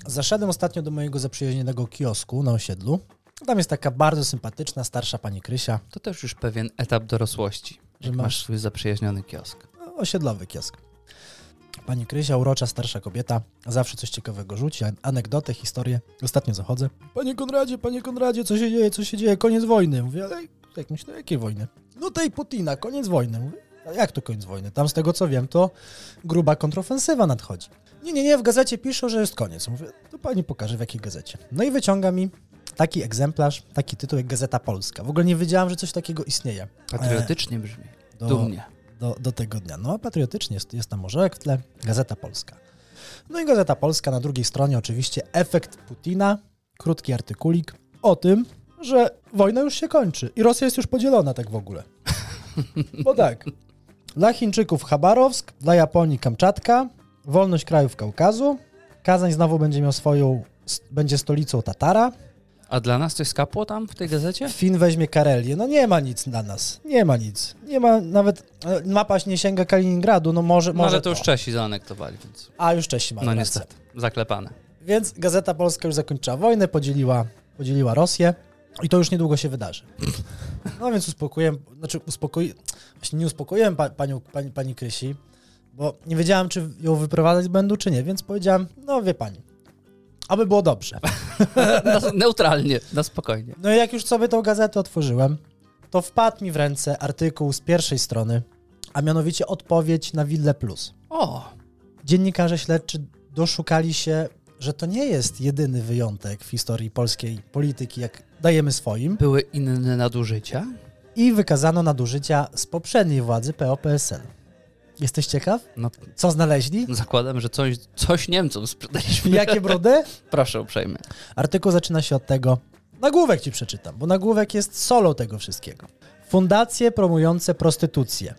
B: Zaszedłem ostatnio do mojego zaprzyjaźnionego kiosku na osiedlu. Tam jest taka bardzo sympatyczna, starsza pani Krysia.
A: To też już pewien etap dorosłości.
B: Że
A: Że
B: masz-
A: masz swój zaprzyjaźniony kiosk.
B: Osiedlowy kiosk. Pani Krysia, urocza, starsza kobieta, zawsze coś ciekawego rzuci, an- anegdotę, historię. Ostatnio zachodzę. Panie Konradzie, panie Konradzie, co się dzieje, co się dzieje, koniec wojny. Mówię, ale jak myślę, jakiej wojny? No tej Putina, koniec wojny. Mówię, a jak to koniec wojny? Tam z tego co wiem, to gruba kontrofensywa nadchodzi. Nie, nie, nie, w gazecie piszą, że jest koniec. Mówię, to pani pokaże w jakiej gazecie. No i wyciąga mi taki egzemplarz, taki tytuł jak Gazeta Polska. W ogóle nie wiedziałam, że coś takiego istnieje.
A: Patriotycznie brzmi.
B: Do-
A: Dumnie.
B: do, do tego dnia. No, patriotycznie jest, jest tam Morzek w tle, Gazeta Polska. No i Gazeta Polska na drugiej stronie oczywiście efekt Putina, krótki artykulik o tym, że wojna już się kończy i Rosja jest już podzielona tak w ogóle. Bo tak, dla Chińczyków Chabarowsk, dla Japonii Kamczatka, wolność krajów Kaukazu, Kazań znowu będzie miał swoją, s- będzie stolicą Tatara,
A: A dla nas coś skapło tam w tej gazecie?
B: Fin weźmie Karelię. No nie ma nic dla nas. Nie ma nic. Nie ma nawet. e, Mapa nie sięga Kaliningradu. No może.
A: No,
B: może
A: ale to już Czesi zaanektowali, więc.
B: A już Czesi mają
A: No
B: rację.
A: niestety. Zaklepane.
B: Więc Gazeta Polska już zakończyła wojnę, podzieliła, podzieliła Rosję i to już niedługo się wydarzy. No więc uspokoiłem, znaczy uspokoi, właśnie nie uspokoiłem pa, panią, pani, pani Krysi, bo nie wiedziałem, czy ją wyprowadzać będą, czy nie, więc powiedziałem, no wie pani, aby było dobrze.
A: Na- Neutralnie, na spokojnie.
B: No i jak już sobie tą gazetę otworzyłem, to wpadł mi w ręce artykuł z pierwszej strony, a mianowicie odpowiedź na Wille Plus.
A: O,
B: Dziennikarze śledczy doszukali się że to nie jest jedyny wyjątek w historii polskiej polityki, jak dajemy swoim,
A: Były inne nadużycia?
B: i wykazano nadużycia z poprzedniej władzy PO-PSL. Jesteś ciekaw?
A: No,
B: Co znaleźli?
A: zakładam, że coś, coś Niemcom sprzedaliśmy.
B: Jakie brudy?
A: Proszę uprzejmie.
B: Artykuł zaczyna się od tego. Nagłówek ci przeczytam, bo nagłówek jest solo tego wszystkiego. Fundacje promujące prostytucję.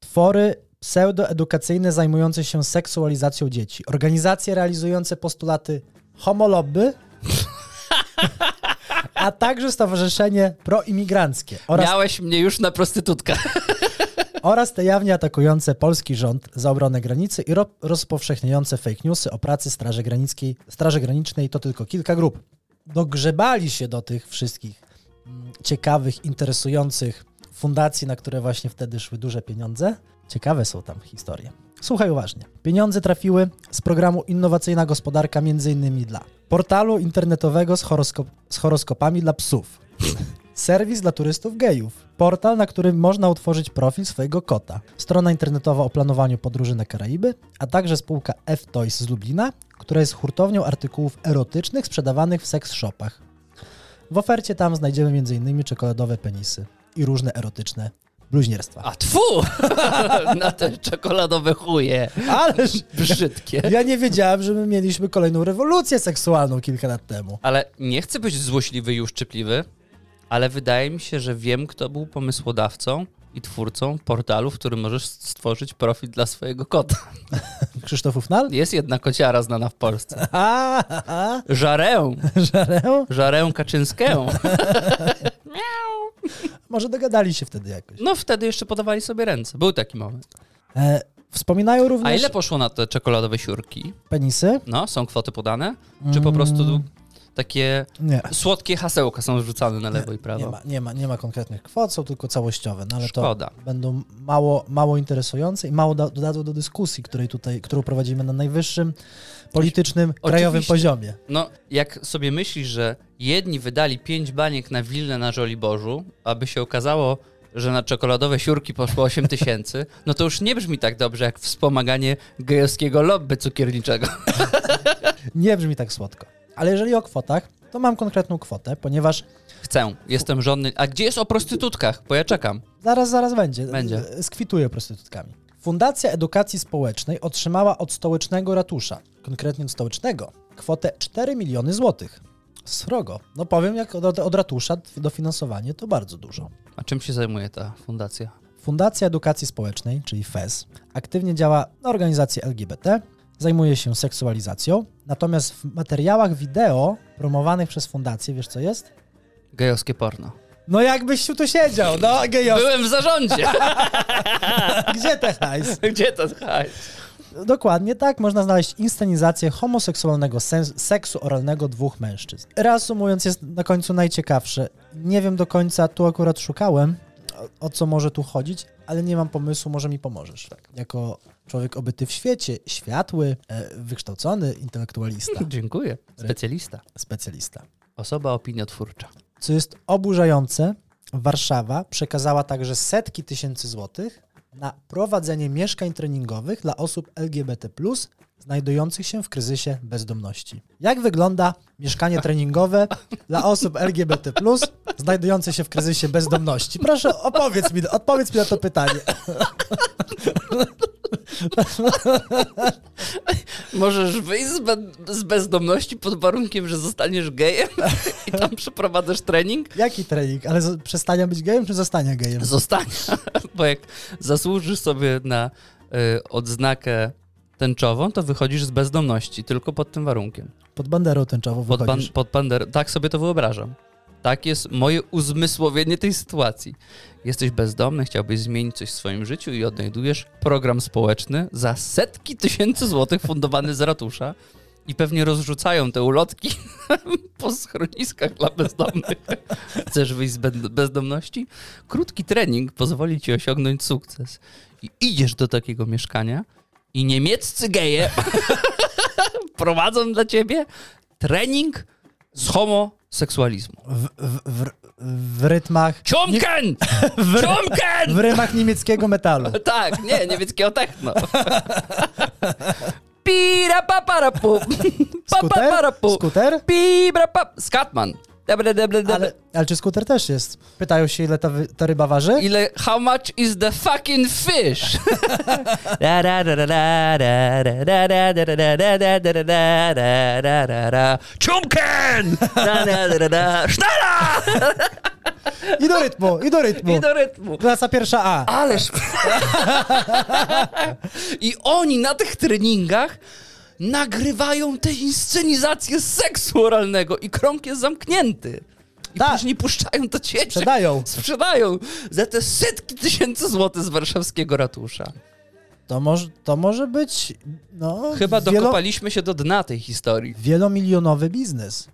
B: Twory pseudoedukacyjne zajmujące się seksualizacją dzieci. Organizacje realizujące postulaty homolobby. A także stowarzyszenie proimigranckie oraz,
A: Miałeś mnie już na prostytutka.
B: oraz te jawnie atakujące polski rząd za obronę granicy i ro- rozpowszechniające fake newsy o pracy Straży, Granickiej, Straży Granicznej to tylko kilka grup. dogrzebali się do tych wszystkich mm, ciekawych, interesujących fundacji, na które właśnie wtedy szły duże pieniądze. Ciekawe są tam historie. Słuchaj uważnie. Pieniądze trafiły z programu Innowacyjna Gospodarka m.in. dla portalu internetowego z, horoskop- z horoskopami dla psów, serwis dla turystów gejów, portal, na którym można utworzyć profil swojego kota, strona internetowa o planowaniu podróży na Karaiby, a także spółka F-Toys z Lublina, która jest hurtownią artykułów erotycznych sprzedawanych w seks shopach. W ofercie tam znajdziemy m.in. czekoladowe penisy i różne erotyczne bluźnierstwa.
A: A tfu! na te czekoladowe chuje.
B: Ależ
A: Brzydkie.
B: ja nie wiedziałem, że my mieliśmy kolejną rewolucję seksualną kilka lat temu.
A: Ale nie chcę być złośliwy i uszczypliwy, ale wydaje mi się, że wiem, kto był pomysłodawcą i twórcą portalu, w którym możesz stworzyć profil dla swojego kota.
B: Krzysztof Ufnal?
A: Jest jedna kociara znana w Polsce.
B: A, a, a,
A: Żarę.
B: żarę?
A: Żarę Kaczyńskę.
B: Może dogadali się wtedy jakoś.
A: No wtedy jeszcze podawali sobie ręce. Był taki moment.
B: E, wspominają
A: A
B: również
A: ile poszło na te czekoladowe siurki?
B: penisy?
A: No, są kwoty podane? Czy po
B: Mm.
A: prostu takie
B: Nie.
A: słodkie hasełka są rzucane na lewo i prawo?
B: Nie ma, nie, ma, nie ma konkretnych kwot, są tylko całościowe, no ale
A: Szkoda.
B: to będą mało, mało interesujące i mało da- dodadzą do dyskusji, której tutaj, którą prowadzimy na najwyższym politycznym, krajowym
A: Oczywiście.
B: poziomie.
A: No, jak sobie myślisz, że jedni wydali pięć baniek na willę na Żoliborzu, aby się okazało, że na czekoladowe siurki poszło 8 tysięcy, no to już nie brzmi tak dobrze jak wspomaganie gejowskiego lobby cukierniczego.
B: Nie brzmi tak słodko. Ale jeżeli o kwotach, to mam konkretną kwotę, ponieważ
A: Chcę, jestem żonny. A gdzie jest o prostytutkach? Bo ja czekam.
B: zaraz, zaraz będzie.
A: Będzie.
B: Skwituję prostytutkami. Fundacja Edukacji Społecznej otrzymała od stołecznego ratusza, konkretnie od stołecznego, kwotę 4 miliony złotych. Srogo. No powiem, jak od, od ratusza dofinansowanie to bardzo dużo.
A: A czym się zajmuje ta fundacja?
B: Fundacja Edukacji Społecznej, czyli FES, aktywnie działa na organizację LGBT, zajmuje się seksualizacją, natomiast w materiałach wideo promowanych przez fundację, wiesz co jest?
A: Gejowskie porno.
B: No jakbyś tu siedział, no gejowski,
A: Byłem w zarządzie!
B: gdzie te hajs?
A: gdzie to hajs?
B: Dokładnie tak, można znaleźć inscenizację homoseksualnego sens- seksu oralnego dwóch mężczyzn. Reasumując, jest na końcu najciekawsze. Nie wiem do końca, tu akurat szukałem, o, o co może tu chodzić, ale nie mam pomysłu, może mi pomożesz. Jako człowiek obyty w świecie, światły, e, wykształcony intelektualista,
A: Dziękuję. Specjalista.
B: specjalista.
A: Osoba opiniotwórcza.
B: Co jest oburzające, Warszawa przekazała także setki tysięcy złotych na prowadzenie mieszkań treningowych dla osób LGBT, znajdujących się w kryzysie bezdomności. Jak wygląda mieszkanie treningowe dla osób LGBT, znajdujących się w kryzysie bezdomności? Proszę, opowiedz mi, odpowiedz mi na to pytanie.
A: Możesz wyjść z, be- z bezdomności pod warunkiem, że zostaniesz gejem i tam przeprowadzasz trening?
B: Jaki trening? Ale z- przestania być gejem, czy zostania gejem?
A: Zostań, bo jak zasłużysz sobie na y, odznakę tęczową, to wychodzisz z bezdomności, tylko pod tym warunkiem.
B: Pod banderą tęczową
A: Pod, pan,
B: wychodzisz.
A: pod pander- tak sobie to wyobrażam. Tak jest moje uzmysłowienie tej sytuacji. Jesteś bezdomny, chciałbyś zmienić coś w swoim życiu i odnajdujesz program społeczny za setki tysięcy złotych fundowany z ratusza i pewnie rozrzucają te ulotki po schroniskach dla bezdomnych. Chcesz wyjść z be- bezdomności? Krótki trening pozwoli ci osiągnąć sukces. I idziesz do takiego mieszkania i niemieccy geje prowadzą dla ciebie trening z homoseksualizmu.
B: W, w, w, w rytmach...
A: Ciomken!
B: W, ry-
A: Ciomken!
B: w rymach niemieckiego metalu.
A: Tak, nie, niemieckiego techno. Pira pa para pu. Pa pa para
B: Skuter?
A: pu.
B: Skuter?
A: Pibra pa. Skatman. Dobre, dobre, dobre.
B: Ale, ale czy skuter też jest? Pytają się, ile ta, wy- ta ryba waży?
A: Ile, how much is the fucking fish? Da, da, da, da, da, da, da, da, da, da, da, da, da, da, da, da, da, da, da, da. Ciumken! Da, da, da, da, da. Sztara!
B: I do rytmu, i do rytmu.
A: I do rytmu.
B: Klasa pierwsza A.
A: Ależ. I oni na tych treningach nagrywają te inscenizacje seksu oralnego i krąg jest zamknięty. I
B: Tak.
A: później puszczają to ciecie.
B: Sprzedają.
A: Sprzedają za te setki tysięcy złotych z warszawskiego ratusza.
B: To, moż, to może być, no...
A: Chyba
B: wielo-
A: dokopaliśmy się do dna tej historii.
B: Wielomilionowy biznes.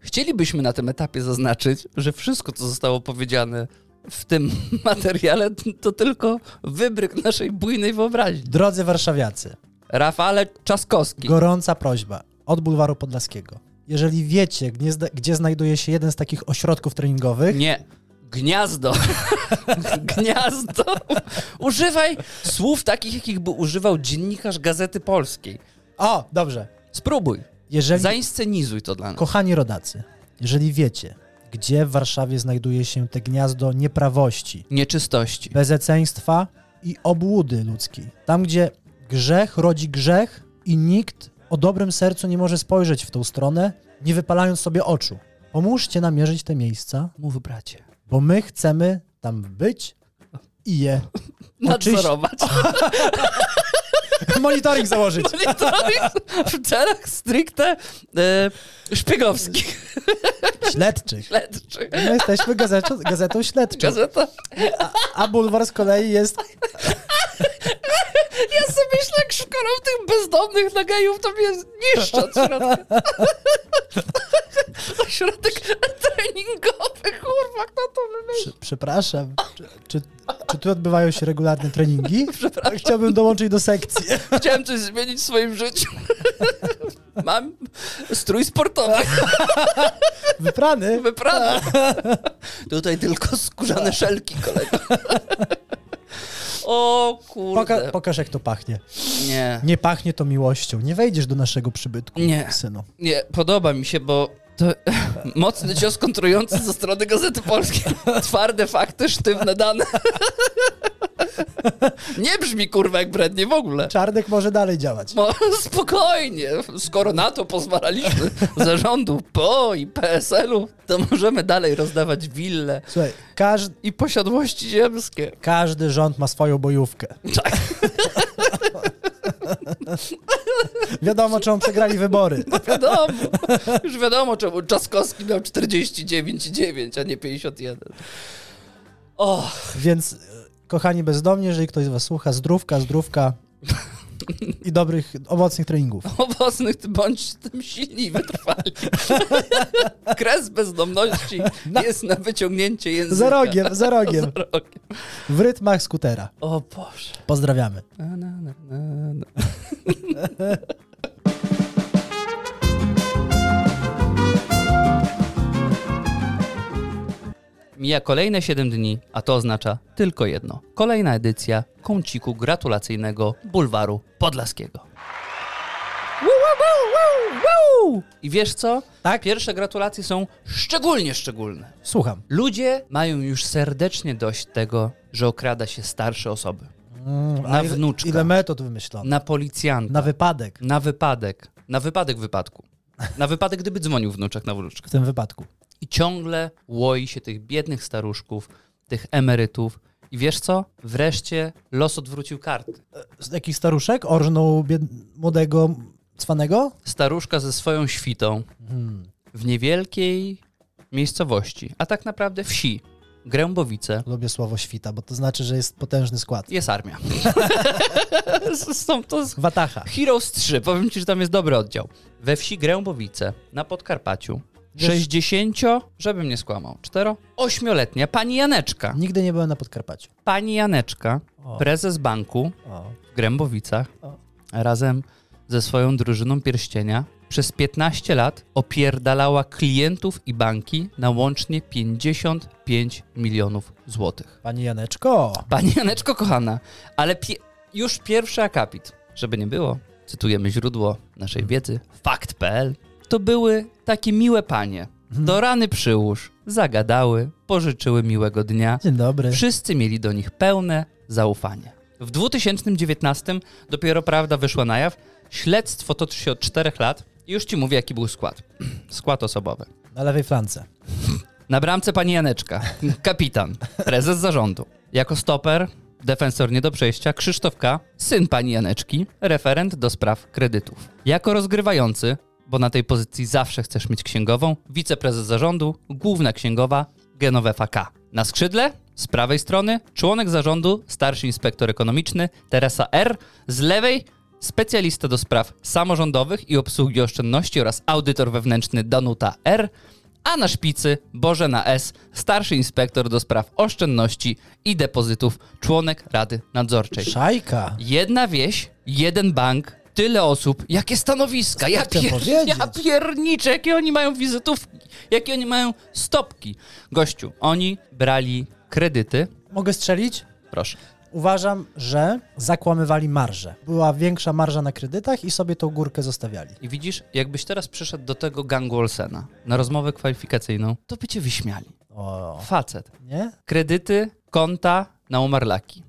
A: Chcielibyśmy na tym etapie zaznaczyć, że wszystko, co zostało powiedziane w tym materiale, to tylko wybryk naszej bujnej wyobraźni.
B: Drodzy warszawiacy,
A: Rafale Czaskowski.
B: gorąca prośba od Bulwaru Podlaskiego. Jeżeli wiecie, gdzie, zda- gdzie znajduje się jeden z takich ośrodków treningowych,
A: Nie. Gniazdo. Gniazdo. Używaj słów takich, jakich by używał dziennikarz Gazety Polskiej.
B: o, dobrze.
A: Spróbuj.
B: Jeżeli
A: Zainscenizuj to dla nas.
B: Kochani rodacy, jeżeli wiecie, gdzie w Warszawie znajduje się te gniazdo nieprawości,
A: Nieczystości.
B: bezeceństwa i obłudy ludzkiej, tam gdzie grzech rodzi grzech i nikt o dobrym sercu nie może spojrzeć w tą stronę, nie wypalając sobie oczu, pomóżcie nam mierzyć te miejsca,
A: Mów bracie.
B: bo my chcemy tam być i je
A: Nadzorować.
B: monitoring założyć.
A: Monitoring w celach stricte e, szpiegowskich.
B: Śledczych.
A: Śledczy.
B: My jesteśmy gazetą, gazetą śledczą,
A: Gazeta.
B: a Bulwar z kolei jest
A: Ja sobie myślę, jak szkolą tych bezdomnych na gejów, to mnie niszczą od środka. Ośrodek treningowy, kurwa, kto to wymyślił?
B: Prze- Przepraszam, czy, czy, czy tu odbywają się regularne treningi? Chciałbym dołączyć do sekcji.
A: Chciałem coś zmienić w swoim życiu. Mam strój sportowy,
B: Wyprany?
A: wyprany. Tutaj tylko skórzane szelki, kolego. O
B: Poka-
A: kurde.
B: pokaż jak to pachnie.
A: Nie.
B: Nie pachnie to miłością. Nie wejdziesz do naszego przybytku,
A: Nie.
B: synu.
A: Nie, podoba mi się, bo to mocny cios kontrujący ze strony Gazety Polskiej. Twarde fakty, sztywne dane. Nie brzmi kurwa jak brednie w ogóle.
B: Czarnek może dalej działać.
A: No, spokojnie, skoro na to pozwalaliśmy zarządu PO i PSL-u, to możemy dalej rozdawać wille
B: Słuchaj, każ-
A: i posiadłości ziemskie.
B: każdy rząd ma swoją bojówkę.
A: Tak.
B: Wiadomo, czemu przegrali wybory.
A: No Wiadomo, już wiadomo czemu Czaskowski miał 49,9, a nie 51. O,
B: Więc, e, kochani bezdomni, jeżeli ktoś z was słucha, zdrówka, zdrówka i dobrych, owocnych treningów.
A: owocnych ty bądź tym silni i wytrwali. Kres bezdomności jest na wyciągnięcie języka.
B: Za rogiem, za rogiem.
A: Za rogiem.
B: W rytmach skutera.
A: O Boże.
B: Pozdrawiamy.
A: Na, na, na, na, na. Mija kolejne 7 dni, a to oznacza tylko jedno. Kolejna edycja kąciku gratulacyjnego Bulwaru Podlaskiego. Woo, woo, woo, woo, woo! I wiesz co?
B: Tak?
A: Pierwsze gratulacje są szczególnie szczególne.
B: Słucham.
A: Ludzie mają już serdecznie dość tego, że okrada się starsze osoby.
B: Mm, a
A: Na
B: ile-
A: wnuczka.
B: Ile metod wymyślono?
A: Na policjanta.
B: Na wypadek.
A: Na wypadek. Na wypadek wypadku. Na wypadek, gdyby dzwonił wnuczek na wnuczkę.
B: W tym wypadku.
A: I ciągle łoi się tych biednych staruszków, tych emerytów. I wiesz co? Wreszcie los odwrócił karty.
B: Z jakich staruszek? Orżnął bied- młodego cwanego?
A: Staruszka ze swoją świtą w niewielkiej miejscowości, a tak naprawdę wsi, Grębowice,
B: Lubię słowo świta, bo to znaczy, że jest potężny skład.
A: jest armia. Są to
B: Watacha.
A: Heroes 3, powiem ci, że tam jest dobry oddział. We wsi Grębowice na Podkarpaciu.
B: Wiesz-
A: 60, żebym nie skłamał, 4, 8-letnia pani Janeczka.
B: Nigdy nie byłem na Podkarpaciu.
A: Pani Janeczka,
B: O.
A: prezes banku
B: O.
A: w Grębowicach,
B: O.
A: razem ze swoją drużyną pierścienia, przez 15 lat opierdalała klientów i banki na łącznie 55 milionów złotych.
B: Pani Janeczko!
A: Pani Janeczko, kochana, ale pie- już pierwszy akapit, żeby nie było. cytujemy źródło naszej wiedzy, fakt.pl, to były takie miłe panie. Do rany przyłóż, zagadały, pożyczyły miłego dnia.
B: Dzień dobry.
A: Wszyscy mieli do nich pełne zaufanie. W 2019 dopiero prawda wyszła na jaw. Śledztwo toczy się od czterech lat i już ci mówię, jaki był skład. skład osobowy.
B: Na lewej flance.
A: Na bramce pani Janeczka, kapitan, prezes zarządu. Jako stoper, defensor nie do przejścia, Krzysztof K., syn pani Janeczki, referent do spraw kredytów. Jako rozgrywający, bo na tej pozycji zawsze chcesz mieć księgową, wiceprezes zarządu, główna księgowa Genovefa K. Na skrzydle, z prawej strony, członek zarządu, starszy inspektor ekonomiczny Teresa R., z lewej specjalista do spraw samorządowych i obsługi oszczędności oraz audytor wewnętrzny Danuta R., a na szpicy Bożena S., starszy inspektor do spraw oszczędności i depozytów, członek Rady Nadzorczej.
B: Szajka.
A: Jedna wieś, jeden bank, tyle osób, jakie stanowiska, ja,
B: chciałem
A: pier...
B: powiedzieć.
A: ja pierniczę, jakie oni mają wizytówki, jakie oni mają stopki. Gościu, oni brali kredyty,
B: Mogę strzelić?
A: proszę,
B: Uważam, że zakłamywali marżę. Była większa marża na kredytach i sobie tą górkę zostawiali.
A: I widzisz, jakbyś teraz przyszedł do tego gangu Olsena na rozmowę kwalifikacyjną, to by cię wyśmiali.
B: O,
A: Facet.
B: nie?
A: Kredyty, konta na umarlaki.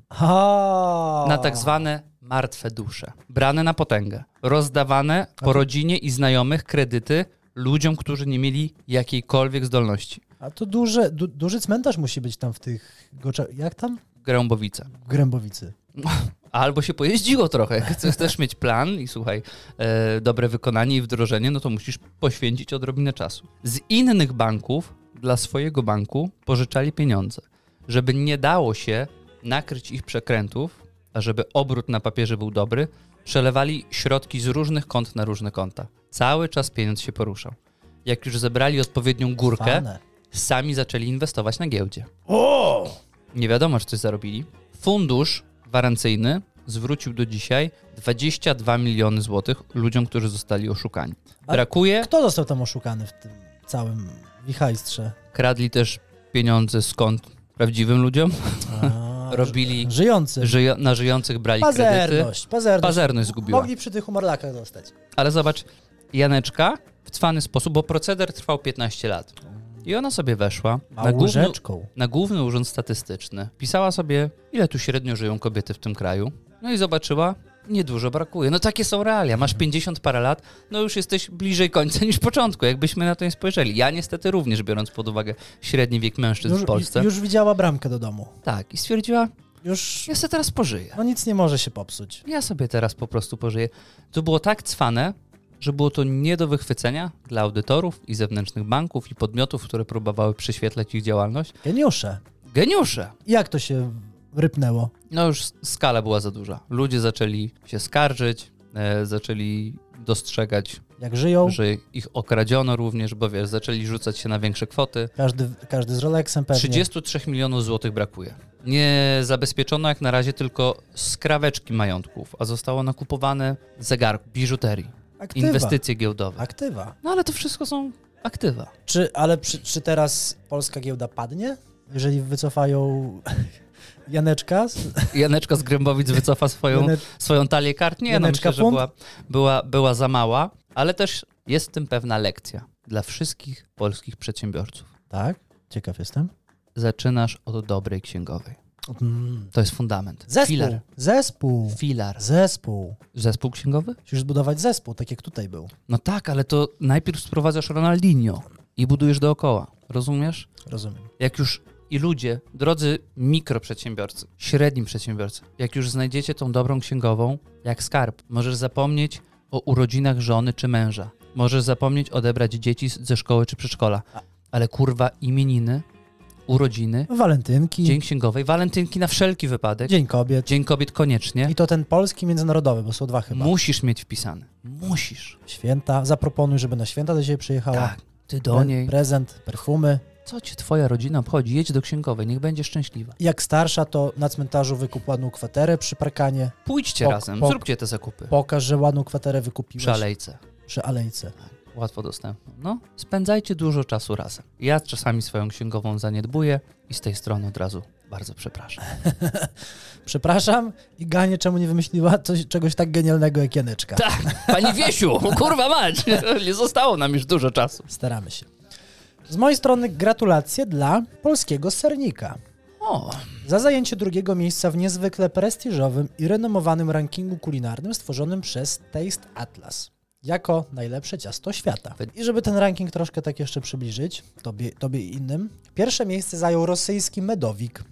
B: O.
A: Na tak zwane martwe dusze. Brane na potęgę. Rozdawane po rodzinie i znajomych kredyty ludziom, którzy nie mieli jakiejkolwiek zdolności.
B: A to duży, du, duży cmentarz musi być tam w tych... Gocza... Jak tam?
A: Grębowice.
B: W Grębowicy.
A: Albo się pojeździło trochę. Jak chcesz też mieć plan i słuchaj, e, dobre wykonanie i wdrożenie, no to musisz poświęcić odrobinę czasu. Z innych banków dla swojego banku pożyczali pieniądze, żeby nie dało się nakryć ich przekrętów, a żeby obrót na papierze był dobry, przelewali środki z różnych kont na różne konta. Cały czas pieniądz się poruszał. Jak już zebrali odpowiednią górkę,
B: Fane.
A: sami zaczęli inwestować na giełdzie.
B: O!
A: Nie wiadomo, czy coś zarobili. Fundusz gwarancyjny zwrócił do dzisiaj 22 miliony złotych ludziom, którzy zostali oszukani.
B: Ale
A: Brakuje,
B: Kto został tam oszukany w tym całym wichajstrze?
A: kradli też pieniądze skąd prawdziwym ludziom,
B: Tak. A,
A: robili
B: Żyjący.
A: żyjo- na żyjących brali kredyty.
B: Pazerność, pazerność.
A: Pazerność zgubiła.
B: Mogli przy tych umorlakach zostać.
A: Ale zobacz, Janeczka w cwany sposób, bo proceder trwał 15 lat. I ona sobie weszła na główny,
B: Małżeczką.
A: na Główny Urząd Statystyczny. Pisała sobie, ile tu średnio żyją kobiety w tym kraju. No i zobaczyła, niedużo brakuje. No takie są realia. Masz 50 parę lat, no już jesteś bliżej końca niż początku, jakbyśmy na to nie spojrzeli. Ja niestety również, biorąc pod uwagę średni wiek mężczyzn
B: Już,
A: w Polsce.
B: już widziała bramkę do domu.
A: Tak, i stwierdziła,
B: Już
A: ja sobie teraz pożyję.
B: no nic nie może się popsuć.
A: Ja sobie teraz po prostu pożyję. To było tak cwane, że było to nie do wychwycenia dla audytorów i zewnętrznych banków i podmiotów, które próbowały prześwietlać ich działalność.
B: Geniusze.
A: Geniusze!
B: Jak to się rypnęło?
A: No już skala była za duża. Ludzie zaczęli się skarżyć, e, zaczęli dostrzegać,
B: Jak żyją?
A: że ich okradziono również, bo wiesz, zaczęli rzucać się na większe kwoty.
B: Każdy, każdy z Rolexem pewnie.
A: 33 milionów złotych brakuje. Nie zabezpieczono jak na razie tylko skraweczki majątków, a zostało nakupowane zegarki, biżuterii,
B: Aktywa.
A: inwestycje giełdowe.
B: Aktywa.
A: No ale to wszystko są aktywa.
B: Czy, ale przy, czy teraz polska giełda padnie? Jeżeli wycofają Janeczka? z-
A: Janeczka z Grębowic wycofa swoją
B: Jane-
A: swoją talię kart. Nie, no
B: Janeczka
A: myślę, że
B: Pump?
A: była, była, była za mała, ale też jest w tym pewna lekcja dla wszystkich polskich przedsiębiorców.
B: Tak, ciekaw jestem.
A: Zaczynasz od dobrej księgowej.
B: Mm.
A: To jest fundament.
B: Zespół.
A: Filar.
B: Zespół.
A: Filar.
B: Zespół.
A: Zespół księgowy?
B: Musisz zbudować zespół, tak jak tutaj był.
A: No tak, ale to najpierw sprowadzasz Ronaldinho i budujesz dookoła. Rozumiesz?
B: Rozumiem.
A: Jak już i ludzie, drodzy mikroprzedsiębiorcy, średni przedsiębiorcy, jak już znajdziecie tą dobrą księgową, jak skarb, możesz zapomnieć o urodzinach żony czy męża. Możesz zapomnieć odebrać dzieci z- ze szkoły czy przedszkola. Ale kurwa, imieniny, urodziny,
B: Walentynki,
A: dzień księgowej, walentynki na wszelki wypadek,
B: Dzień Kobiet.
A: dzień kobiet koniecznie,
B: I to ten polski międzynarodowy, bo są dwa chyba.
A: musisz mieć wpisany. Musisz.
B: Święta. Zaproponuj, żeby na święta do ciebie przyjechała.
A: Tak. Ty do
B: Pre-
A: niej.
B: Prezent, perfumy.
A: Co ci twoja rodzina obchodzi? Jedź do księgowej, niech będzie szczęśliwa.
B: Jak starsza, to na cmentarzu wykup ładną kwaterę przy parkanie.
A: Pójdźcie
B: Pok-
A: razem,
B: pok-
A: zróbcie te zakupy.
B: Pokaż, że ładną kwaterę wykupiłeś
A: Przy alejce.
B: przy alejce.
A: łatwo dostępną. No, spędzajcie dużo czasu razem. Ja czasami swoją księgową zaniedbuję i z tej strony od razu Bardzo przepraszam.
B: Przepraszam i Ganie, czemu nie wymyśliła coś, czegoś tak genialnego jak Janeczka.
A: Tak, pani Wiesiu, kurwa mać, nie zostało nam już dużo czasu.
B: Staramy się. Z mojej strony gratulacje dla polskiego sernika.
A: O,
B: Za zajęcie drugiego miejsca w niezwykle prestiżowym i renomowanym rankingu kulinarnym stworzonym przez Taste Atlas jako najlepsze ciasto świata. I żeby ten ranking troszkę tak jeszcze przybliżyć, tobie, tobie i innym, pierwsze miejsce zajął rosyjski medowik,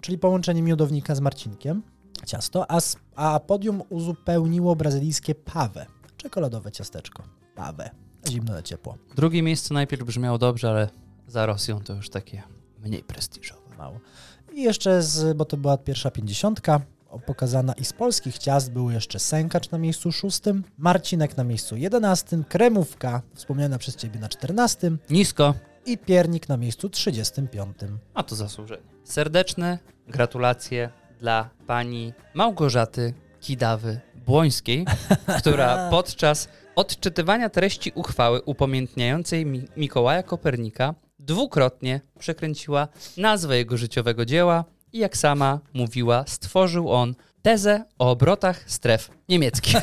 B: czyli połączenie miodownika z marcinkiem, ciasto, a, s- a podium uzupełniło brazylijskie pawe, czekoladowe ciasteczko. Pawe. Zimno na ciepło.
A: drugie miejsce najpierw brzmiało dobrze, ale za Rosją to już takie mniej prestiżowe.
B: mało. I jeszcze, z, bo to była pierwsza pięćdziesiątka o- pokazana i z polskich ciast był jeszcze Sękacz na miejscu szóstym, Marcinek na miejscu jedenastym, Kremówka wspomniana przez Ciebie na czternastym
A: Nisko,
B: i Piernik na miejscu trzydziestym piątym.
A: a to zasłużenie. Serdeczne gratulacje dla pani Małgorzaty Kidawy-Błońskiej, która podczas odczytywania treści uchwały upamiętniającej Mi- Mikołaja Kopernika dwukrotnie przekręciła nazwę jego życiowego dzieła i jak sama mówiła, stworzył on tezę o obrotach stref niemieckich.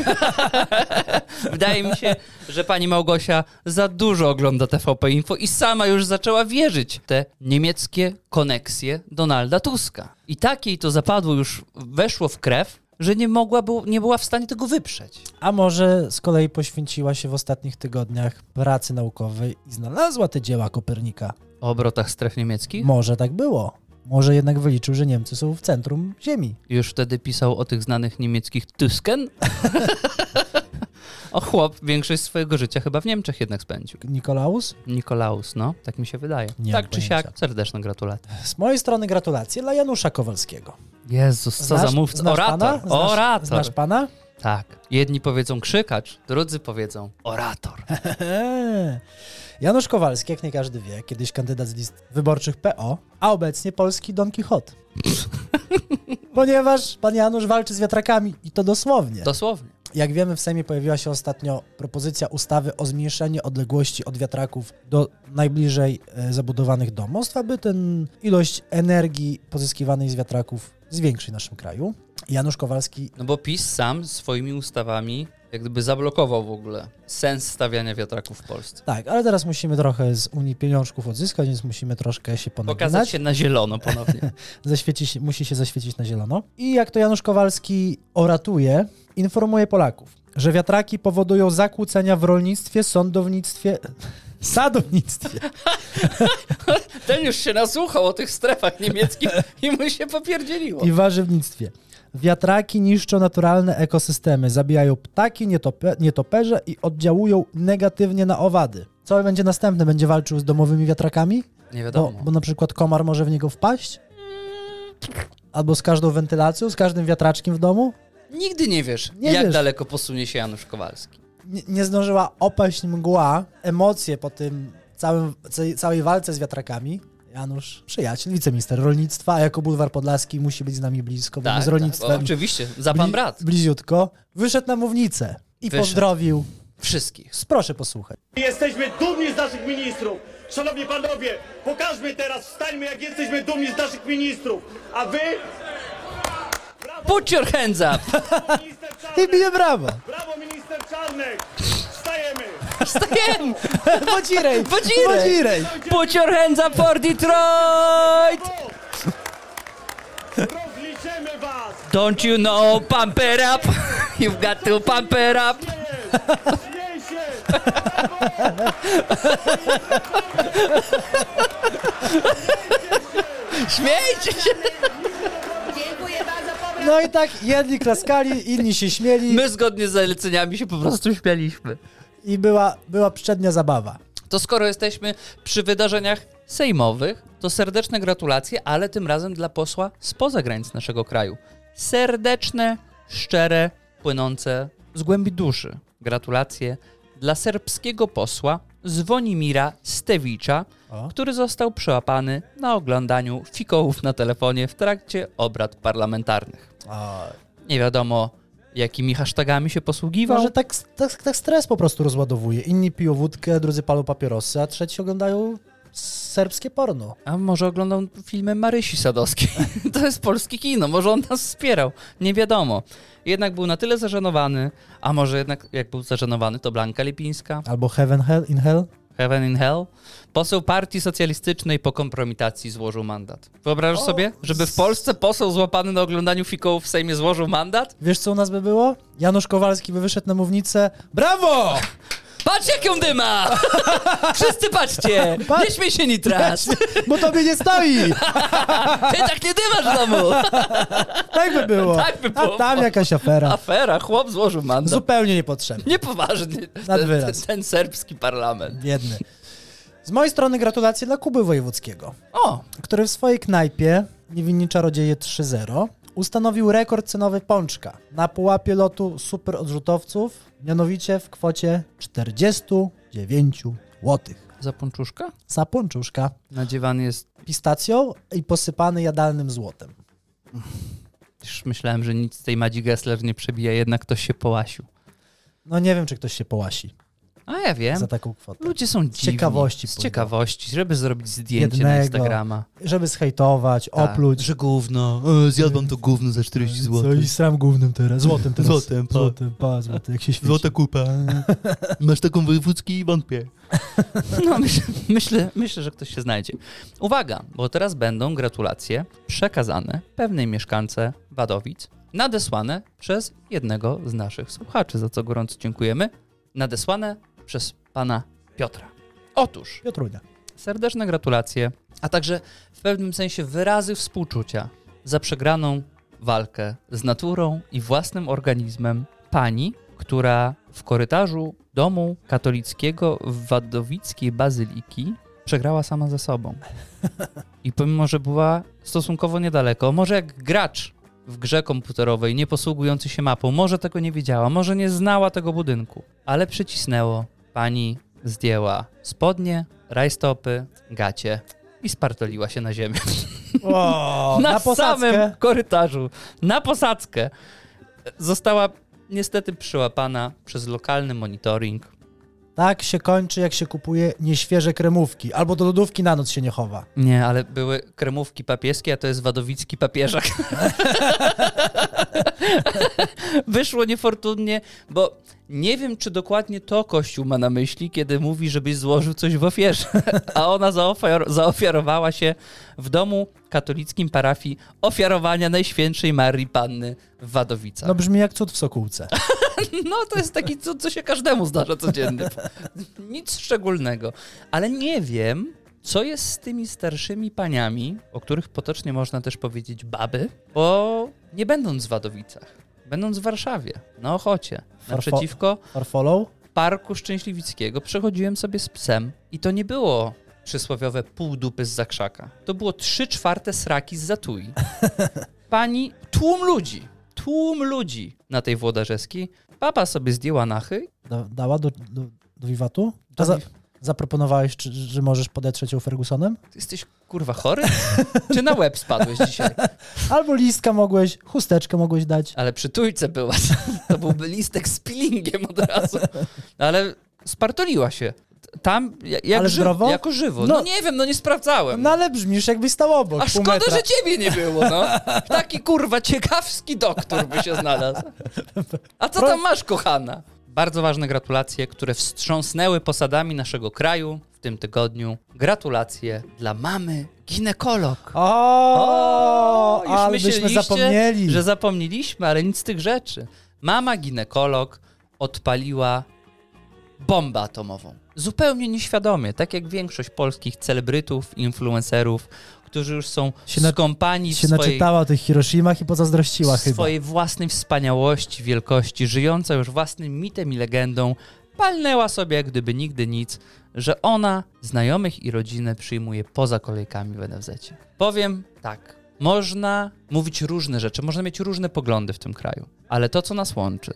A: Wydaje mi się, że pani Małgosia za dużo ogląda TVP Info i sama już zaczęła wierzyć w te niemieckie koneksje Donalda Tuska. I tak jej to zapadło już, weszło w krew, że nie mogła, było- nie była w stanie tego wyprzeć.
B: A może z kolei poświęciła się w ostatnich tygodniach pracy naukowej i znalazła te dzieła Kopernika.
A: O obrotach stref niemieckich?
B: Może tak było. Może jednak wyliczył, że Niemcy są w centrum Ziemi.
A: Już wtedy pisał o tych znanych niemieckich Tysken? o chłop większość swojego życia chyba w Niemczech jednak spędził.
B: Nikolaus?
A: Nikolaus, no, tak mi się wydaje.
B: Nie mam
A: tak czy
B: pojęcia.
A: siak, serdeczne gratulacje.
B: Z mojej strony gratulacje dla Janusza Kowalskiego.
A: Jezus, co za mówca. Orator,
B: Pana? Znasz,
A: orator.
B: Znasz pana?
A: Tak. Jedni powiedzą krzykacz, drudzy powiedzą orator.
B: Eee. Janusz Kowalski, jak nie każdy wie, kiedyś kandydat z list wyborczych PO, a obecnie polski Don Quixote. Ponieważ pan Janusz walczy z wiatrakami i to dosłownie.
A: Dosłownie.
B: Jak wiemy, w Sejmie pojawiła się ostatnio propozycja ustawy o zmniejszeniu odległości od wiatraków do najbliżej e, zabudowanych domostw, aby ten ilość energii pozyskiwanej z wiatraków zwiększyć w naszym kraju. Janusz Kowalski
A: No bo PiS sam swoimi ustawami jak gdyby zablokował w ogóle sens stawiania wiatraków w Polsce.
B: Tak, ale teraz musimy trochę z Unii pieniążków odzyskać, więc musimy troszkę się
A: Pokazać
B: ponaginać.
A: się na zielono ponownie.
B: Zaświeci się, musi się zaświecić na zielono. I jak to Janusz Kowalski oratuje, informuje Polaków, że wiatraki powodują zakłócenia w rolnictwie, sądownictwie, sadownictwie.
A: Ten już się nasłuchał o tych strefach niemieckich i mu się popierdzieliło.
B: i warzywnictwie. Wiatraki niszczą naturalne ekosystemy, zabijają ptaki, nietope, nietoperze i oddziałują negatywnie na owady. Co będzie następne? Będzie walczył z domowymi wiatrakami?
A: Nie
B: Bo,
A: wiadomo.
B: bo na przykład komar może w niego wpaść? Albo z każdą wentylacją, z każdym wiatraczkiem w domu?
A: Nigdy nie wiesz,
B: Nie
A: jak
B: wiesz. No,
A: daleko posunie się Janusz Kowalski.
B: Nie, nie zdążyła opaść mgła, emocje po tym całym, ce- całej walce z wiatrakami. Janusz, przyjaciel, wiceminister rolnictwa, a jako bulwar podlaski musi być z nami blisko, bo my z
A: tak,
B: rolnictwem
A: oczywiście, za pan
B: bli-
A: brat.
B: bliziutko, wyszedł na mównicę i
A: Wyszedł.
B: pozdrowił.
A: Wszystkich.
B: Proszę posłuchać.
C: Jesteśmy dumni z naszych ministrów. Szanowni panowie, pokażmy teraz, wstańmy jak jesteśmy dumni z naszych ministrów. A wy,
A: Put your hands up!
C: minister
B: I
C: Czarnek,
B: bije brawo.
C: brawo minister Czarnek, wstajemy.
A: Wstajem!
B: Podzirej,
A: Podzirej.
B: podzirej.
A: Put your hands up for Detroit!
C: Rozliczymy was.
A: Don't you know, pump it up. You've got to pump it up.
C: Śmiej się.
A: Śmiejcie się!
D: Dziękuję bardzo, powrót.
B: No i tak jedni klaskali, inni się śmieli
A: My zgodnie z zaleceniami się po prostu śmialiśmy.
B: i była, była przednia zabawa.
A: To skoro jesteśmy przy wydarzeniach sejmowych, to serdeczne gratulacje, ale tym razem dla posła spoza granic naszego kraju. Serdeczne, szczere, płynące z głębi duszy. Gratulacje dla serbskiego posła Zwonimira Stewicza,
B: O.
A: który został przełapany na oglądaniu fikołów na telefonie w trakcie obrad parlamentarnych. Nie wiadomo, jakimi hashtagami się posługiwał.
B: Może tak, tak, tak stres po prostu rozładowuje. Inni piją wódkę, drudzy palą papierosy, a trzeci oglądają serbskie porno.
A: A może oglądam filmy Marysi Sadowskiej? To jest polskie kino, może on nas wspierał, nie wiadomo. Jednak był na tyle zażenowany, a może jednak jak był zażenowany, to Blanka Lipińska,
B: Albo Heaven Hell in Hell.
A: Heaven in Hell. Poseł Partii Socjalistycznej po kompromitacji złożył mandat. Wyobrażasz sobie, żeby w Polsce poseł złapany na oglądaniu fikołów w Sejmie złożył mandat?
B: Wiesz, co u nas by było? Janusz Kowalski by wyszedł na mównicę. Brawo!
A: Patrz jaką dyma! Wszyscy patrzcie! Nie śmiej się nitras!
B: Bo tobie nie stoi!
A: Ty tak nie dymasz w domu!
B: Tak by było.
A: Tak by było.
B: A tam jakaś afera.
A: Afera, chłop złożył mandat.
B: Zupełnie niepotrzebna.
A: Niepoważny.
B: Nad
A: Ten, ten,
B: wyraz.
A: ten serbski parlament.
B: Biedny. Z mojej strony gratulacje dla Kuby Wojewódzkiego,
A: O,
B: który w swojej knajpie Niewinni Czarodzieje 3.0 ustanowił rekord cenowy pączka na pułapie lotu super odrzutowców, mianowicie w kwocie 49 zł.
A: za pączuszka?
B: Za pączuszka
A: Nadziewany jest.
B: pistacją i posypany jadalnym złotem.
A: Już myślałem, że nic z tej Madzi Gessler nie przebija, jednak ktoś się połasił.
B: No nie wiem, czy ktoś się połasi
A: A ja wiem.
B: za taką kwotę.
A: Ludzie są dziwni.
B: ciekawości
A: Z
B: pójdą.
A: ciekawości, żeby zrobić zdjęcie na
B: Jednego.
A: Instagrama. Tak.
B: Żeby zhejtować, opluć.
A: Że gówno. Zjadłam to gówno za 40
B: Co i sram głównym teraz. Złotem teraz.
E: Złotem, pa.
B: Złotem, pa, złoty, jak się świeci.
E: Złota kupa. Masz taką wojewódzki i wątpię.
A: No, myślę, myślę, myślę, że ktoś się znajdzie. Uwaga, bo teraz będą gratulacje przekazane pewnej mieszkance Wadowic, nadesłane przez jednego z naszych słuchaczy, za co gorąco dziękujemy. Nadesłane przez pana Piotra. Otóż
B: Piotrunia.
A: serdeczne gratulacje, a także w pewnym sensie wyrazy współczucia za przegraną walkę z naturą i własnym organizmem pani, która w korytarzu domu katolickiego w Wadowickiej Bazyliki przegrała sama ze sobą. I pomimo, że była stosunkowo niedaleko, może jak gracz w grze komputerowej, nie posługujący się mapą, może tego nie wiedziała, może nie znała tego budynku, ale przycisnęło. Pani zdjęła spodnie, rajstopy, gacie i spartoliła się na ziemię.
B: O, na,
A: na
B: posadzkę.
A: samym korytarzu, na posadzkę. Została niestety przyłapana przez lokalny monitoring.
B: Tak się kończy, jak się kupuje nieświeże kremówki. Albo do lodówki na noc się nie chowa.
A: Nie, ale były kremówki papieskie, a to jest wadowicki papieżak. Wyszło niefortunnie, bo nie wiem, czy dokładnie to Kościół ma na myśli, kiedy mówi, żebyś złożył coś w ofierze. A ona zaofiar- zaofiarowała się w domu katolickim parafii ofiarowania Najświętszej Marii Panny w Wadowicach.
B: No brzmi jak cud w Sokółce.
A: No to jest taki cud, co się każdemu zdarza codziennie. Nic szczególnego. Ale nie wiem, co jest z tymi starszymi paniami, o których potocznie można też powiedzieć baby, bo nie będąc w Wadowicach, będąc w Warszawie, na Ochocie, naprzeciwko
B: Farfollow?
A: Parku Szczęśliwickiego, przechodziłem sobie z psem i to nie było przysłowiowe pół dupy z zakrzaka. To było trzy czwarte sraki z zatui. Pani, tłum ludzi, tłum ludzi na tej Włodarzeskiej. Papa sobie zdjęła nachy
B: Da, dała do, do, do wiwatu? A
A: Tak.
B: za, zaproponowałeś, czy, że możesz podetrzeć ją Fergusonem?
A: Ty jesteś kurwa chory? Czy na łeb spadłeś dzisiaj?
B: Albo listka mogłeś, chusteczkę mogłeś dać.
A: Ale przy tujce była. To byłby listek z peelingiem od razu. No ale spartoliła się. Tam ja- jak
B: Ale
A: ży-
B: zdrowo?
A: jako żywo. No.
B: No.
A: nie wiem, no nie sprawdzałem.
B: No ale brzmisz, jakbyś stał obok.
A: A
B: pół
A: szkoda,
B: metra.
A: że ciebie nie było, no. Taki kurwa ciekawski doktor by się znalazł. A co tam masz, kochana? Bardzo ważne gratulacje, które wstrząsnęły posadami naszego kraju w tym tygodniu. Gratulacje dla mamy ginekolog.
B: O,
A: już
B: ale byśmy
A: myśleliście,
B: zapomnieli.
A: że zapomnieliśmy, ale nic z tych rzeczy. Mama ginekolog odpaliła bombę atomową. Zupełnie nieświadomie, tak jak większość polskich celebrytów, influencerów, którzy już są
B: Się na-
A: skąpani w
B: się
A: swojej,
B: naczytała o tych Hiroshimach i pozazdrościła
A: w
B: chyba.
A: swojej własnej wspaniałości, wielkości, żyjąca już własnym mitem i legendą, palnęła sobie jak gdyby nigdy nic, że ona znajomych i rodzinę przyjmuje poza kolejkami w NFZ. Powiem tak, można mówić różne rzeczy, można mieć różne poglądy w tym kraju, ale to, co nas łączy,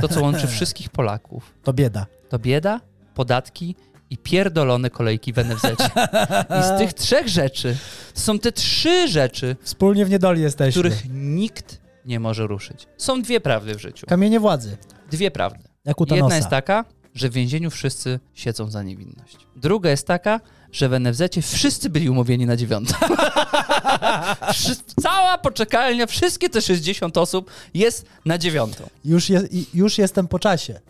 A: to, co łączy wszystkich Polaków,
B: To bieda.
A: to bieda, podatki i pierdolone kolejki w NFZ. I z tych trzech rzeczy, to są te trzy rzeczy,
B: Wspólnie w niedoli jesteśmy.
A: których nikt nie może ruszyć. Są dwie prawdy w życiu.
B: Kamienie władzy.
A: Dwie prawdy.
B: Jak u
A: Jedna
B: Thanosa.
A: jest taka, że w więzieniu wszyscy siedzą za niewinność. Druga jest taka, że w NFZ wszyscy byli umówieni na dziewiątą. Wszyscy- Cała poczekalnia, wszystkie te 60 osób jest na dziewiątą.
B: Już, je, i- już jestem po czasie.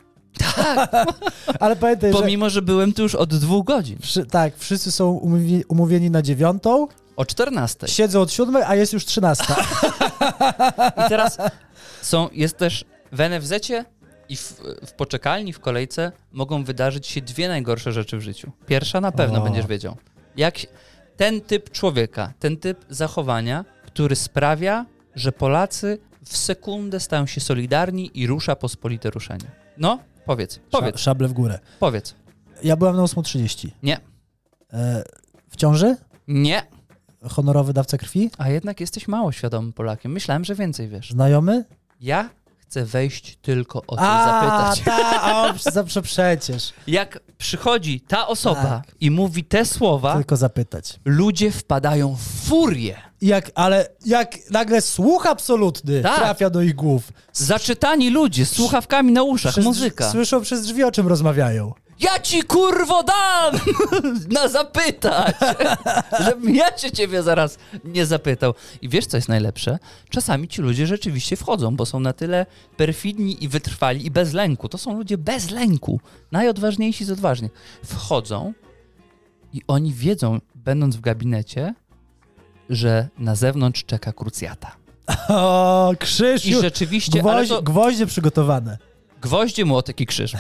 B: Tak. Ale pamiętaj, że...
A: Pomimo, że byłem tu już od dwóch godzin.
B: Wszy, tak, wszyscy są umówi, umówieni na dziewiątą,
A: O 14.
B: siedzą od siódmej, a jest już trzynasta.
A: I teraz są, jest też w NFZ-cie i w, w poczekalni, w kolejce mogą wydarzyć się dwie najgorsze rzeczy w życiu. Pierwsza na pewno
B: O.
A: będziesz wiedział. Jak się- ten typ człowieka, ten typ zachowania, który sprawia, że Polacy w sekundę stają się solidarni i rusza pospolite ruszenie. No, powiedz,
B: Sza-
A: powiedz,
B: Szable w górę.
A: powiedz.
B: Ja byłam na 8.30.
A: Nie,
B: E, w ciąży?
A: nie,
B: Honorowy dawca krwi?
A: a jednak jesteś mało świadomym Polakiem. Myślałem, że więcej wiesz.
B: Znajomy?
A: Ja chcę wejść tylko o to i
B: A, tak.
A: zapytać. Tak?
B: ta, o, zawsze przecież.
A: Jak przychodzi ta osoba
B: Tak.
A: i mówi te słowa,
B: Tylko zapytać.
A: ludzie wpadają w furię.
B: Jak, ale jak nagle słuch absolutny
A: Tak.
B: trafia do ich głów.
A: Zaczytani ludzie z słuchawkami na uszach,
B: Przez-
A: muzyka.
B: Słyszą przez drzwi, o czym rozmawiają.
A: Ja ci kurwo dam! na zapytać! Żebym ja cię ciebie zaraz nie zapytał. I wiesz, co jest najlepsze? Czasami ci ludzie rzeczywiście wchodzą, bo są na tyle perfidni i wytrwali i bez lęku. To są ludzie bez lęku. Najodważniejsi z odważnych. Wchodzą i oni wiedzą, będąc w gabinecie, że na zewnątrz czeka krucjata.
B: O, Krzysiu!
A: I rzeczywiście, ale
B: Gwoźdź,
A: to
B: Gwoździe przygotowane.
A: gwoździe, młotek i krzyż.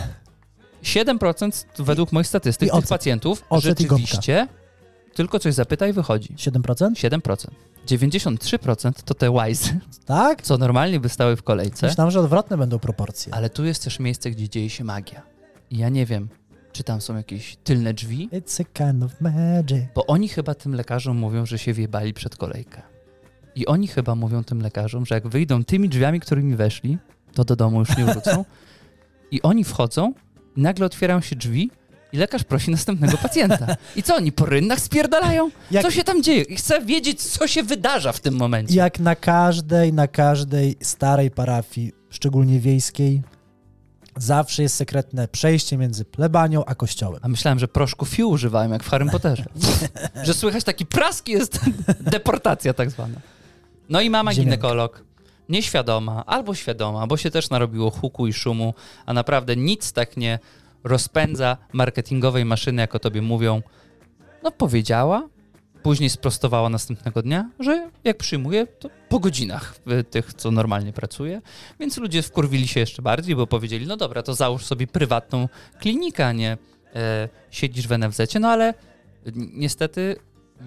A: 7% według moich statystyk
B: i
A: tych
B: ocet.
A: pacjentów
B: Ocet i gąbka.
A: rzeczywiście tylko coś zapyta i wychodzi.
B: 7%?
A: 7%. 93% to te łajzy,
B: Tak?
A: co normalnie by stały w kolejce,
B: Myślałem, że odwrotne będą proporcje.
A: ale tu jest też miejsce, gdzie dzieje się magia. I ja nie wiem, czy tam są jakieś tylne drzwi,
B: It's a kind of magic.
A: bo oni chyba tym lekarzom mówią, że się wjebali przed kolejkę. I oni chyba mówią tym lekarzom, że jak wyjdą tymi drzwiami, którymi weszli, to do domu już nie wrócą. I oni wchodzą, i nagle otwierają się drzwi i lekarz prosi następnego pacjenta. I co, oni po rynnach spierdalają?
B: Jak-
A: Co się tam dzieje? I chcę wiedzieć, co się wydarza w tym momencie.
B: Jak na każdej, na każdej starej parafii, szczególnie wiejskiej, zawsze jest sekretne przejście między plebanią a kościołem.
A: A myślałem, że proszku fiu używałem, jak w Harrym Potterze. że słychać taki prask i jest deportacja tak zwana. No i mama
B: Ziemianka.
A: ginekolog. Nieświadoma albo świadoma, bo się też narobiło huku i szumu, a naprawdę nic tak nie rozpędza marketingowej maszyny, jak o tobie mówią. No powiedziała, później sprostowała następnego dnia, że jak przyjmuje, to po godzinach y, tych, co normalnie pracuje. Więc ludzie wkurwili się jeszcze bardziej, bo powiedzieli, no dobra, to załóż sobie prywatną klinikę, a nie e, siedzisz w NFZ, no ale ni- niestety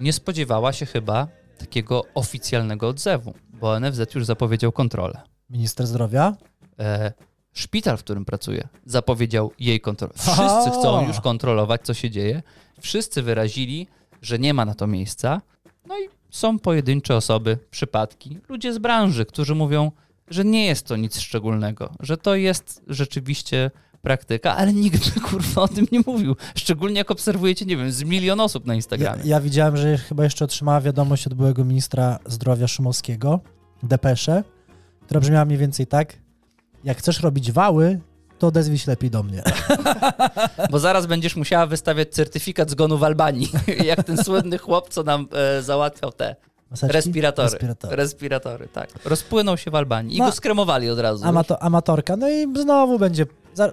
A: nie spodziewała się chyba takiego oficjalnego odzewu, bo NFZ już zapowiedział kontrolę.
B: Minister zdrowia?
A: E, szpital, w którym pracuje, zapowiedział jej kontrolę.
B: Aha.
A: Wszyscy chcą już kontrolować, co się dzieje. Wszyscy wyrazili, że nie ma na to miejsca. No i są pojedyncze osoby, przypadki, ludzie z branży, którzy mówią, że nie jest to nic szczególnego, że to jest rzeczywiście praktyka, ale nikt kurwa o tym nie mówił. Szczególnie jak obserwujecie, nie wiem, z milion osób na
B: Ja,
A: Instagramie.
B: ja widziałem, że chyba jeszcze otrzymała wiadomość od byłego ministra zdrowia Szumowskiego, depeszę, która brzmiała mniej więcej tak, jak chcesz robić wały, to odezwij się lepiej do mnie.
A: Bo zaraz będziesz musiała wystawiać certyfikat zgonu w Albanii, jak ten słynny chłop, co nam e, załatwiał te
B: Maseczki?
A: Respiratory.
B: Respiratory.
A: Respiratory. tak. Rozpłynął się w Albanii i
B: No.
A: go skremowali od razu.
B: Amato, amatorka, no i znowu będzie, za,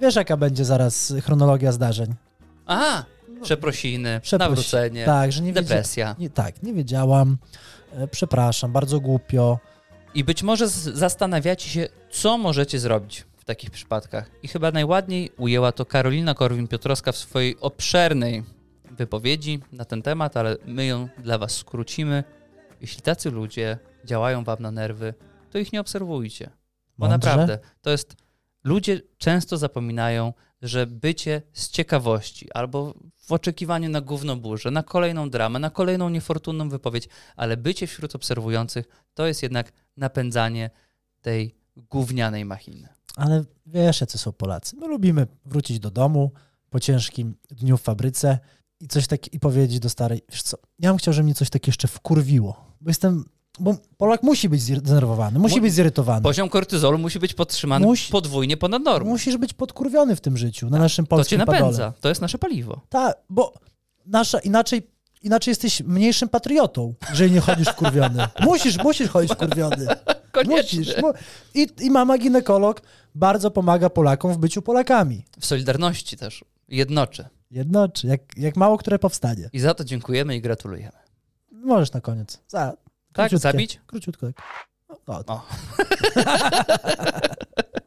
B: wiesz jaka będzie zaraz chronologia zdarzeń.
A: Aha! Przeprosiny,
B: Przeproś-
A: nawrócenie,
B: Tak, że nie wiedzia-
A: depresja.
B: nie, tak, nie wiedziałam, e, przepraszam, bardzo głupio.
A: I być może z- zastanawiacie się, co możecie zrobić w takich przypadkach. I chyba najładniej ujęła to Karolina Korwin-Piotrowska w swojej obszernej wypowiedzi na ten temat, ale my ją dla was skrócimy. Jeśli tacy ludzie działają wam na nerwy, to ich nie obserwujcie. Bo
B: Mądrze.
A: naprawdę, to jest. Ludzie często zapominają, że bycie z ciekawości albo w oczekiwaniu na gówno burzę, na kolejną dramę, na kolejną niefortunną wypowiedź, ale bycie wśród obserwujących to jest jednak napędzanie tej gównianej machiny.
B: Ale wiesz, jacy są Polacy. My lubimy wrócić do domu po ciężkim dniu w fabryce i coś tak i powiedzieć do starej, wiesz co, ja bym chciał, żeby mnie coś tak jeszcze wkurwiło, bo jestem, bo Polak musi być zdenerwowany, musi
A: Mu-
B: być zirytowany.
A: Poziom kortyzolu musi być podtrzymany
B: Musi-
A: podwójnie ponad normą.
B: Musisz być podkurwiony w tym życiu, na naszym
A: Tak. To cię
B: polskim
A: napędza,
B: padole.
A: to jest nasze paliwo.
B: Tak, bo nasza, inaczej, inaczej jesteś mniejszym patriotą, jeżeli nie chodzisz wkurwiony. Musisz, musisz chodzić wkurwiony.
A: Koniecznie.
B: Musisz. Mu- I, I mama ginekolog bardzo pomaga Polakom w byciu Polakami.
A: W Solidarności też. Jednoczy.
B: Jednoczy, jak, jak mało które powstanie.
A: I za to dziękujemy i gratulujemy.
B: Możesz na koniec. Za, No,
A: Tak?
B: króciutkie.
A: Zabić?
B: Króciutko. Tak. O, o.
A: O.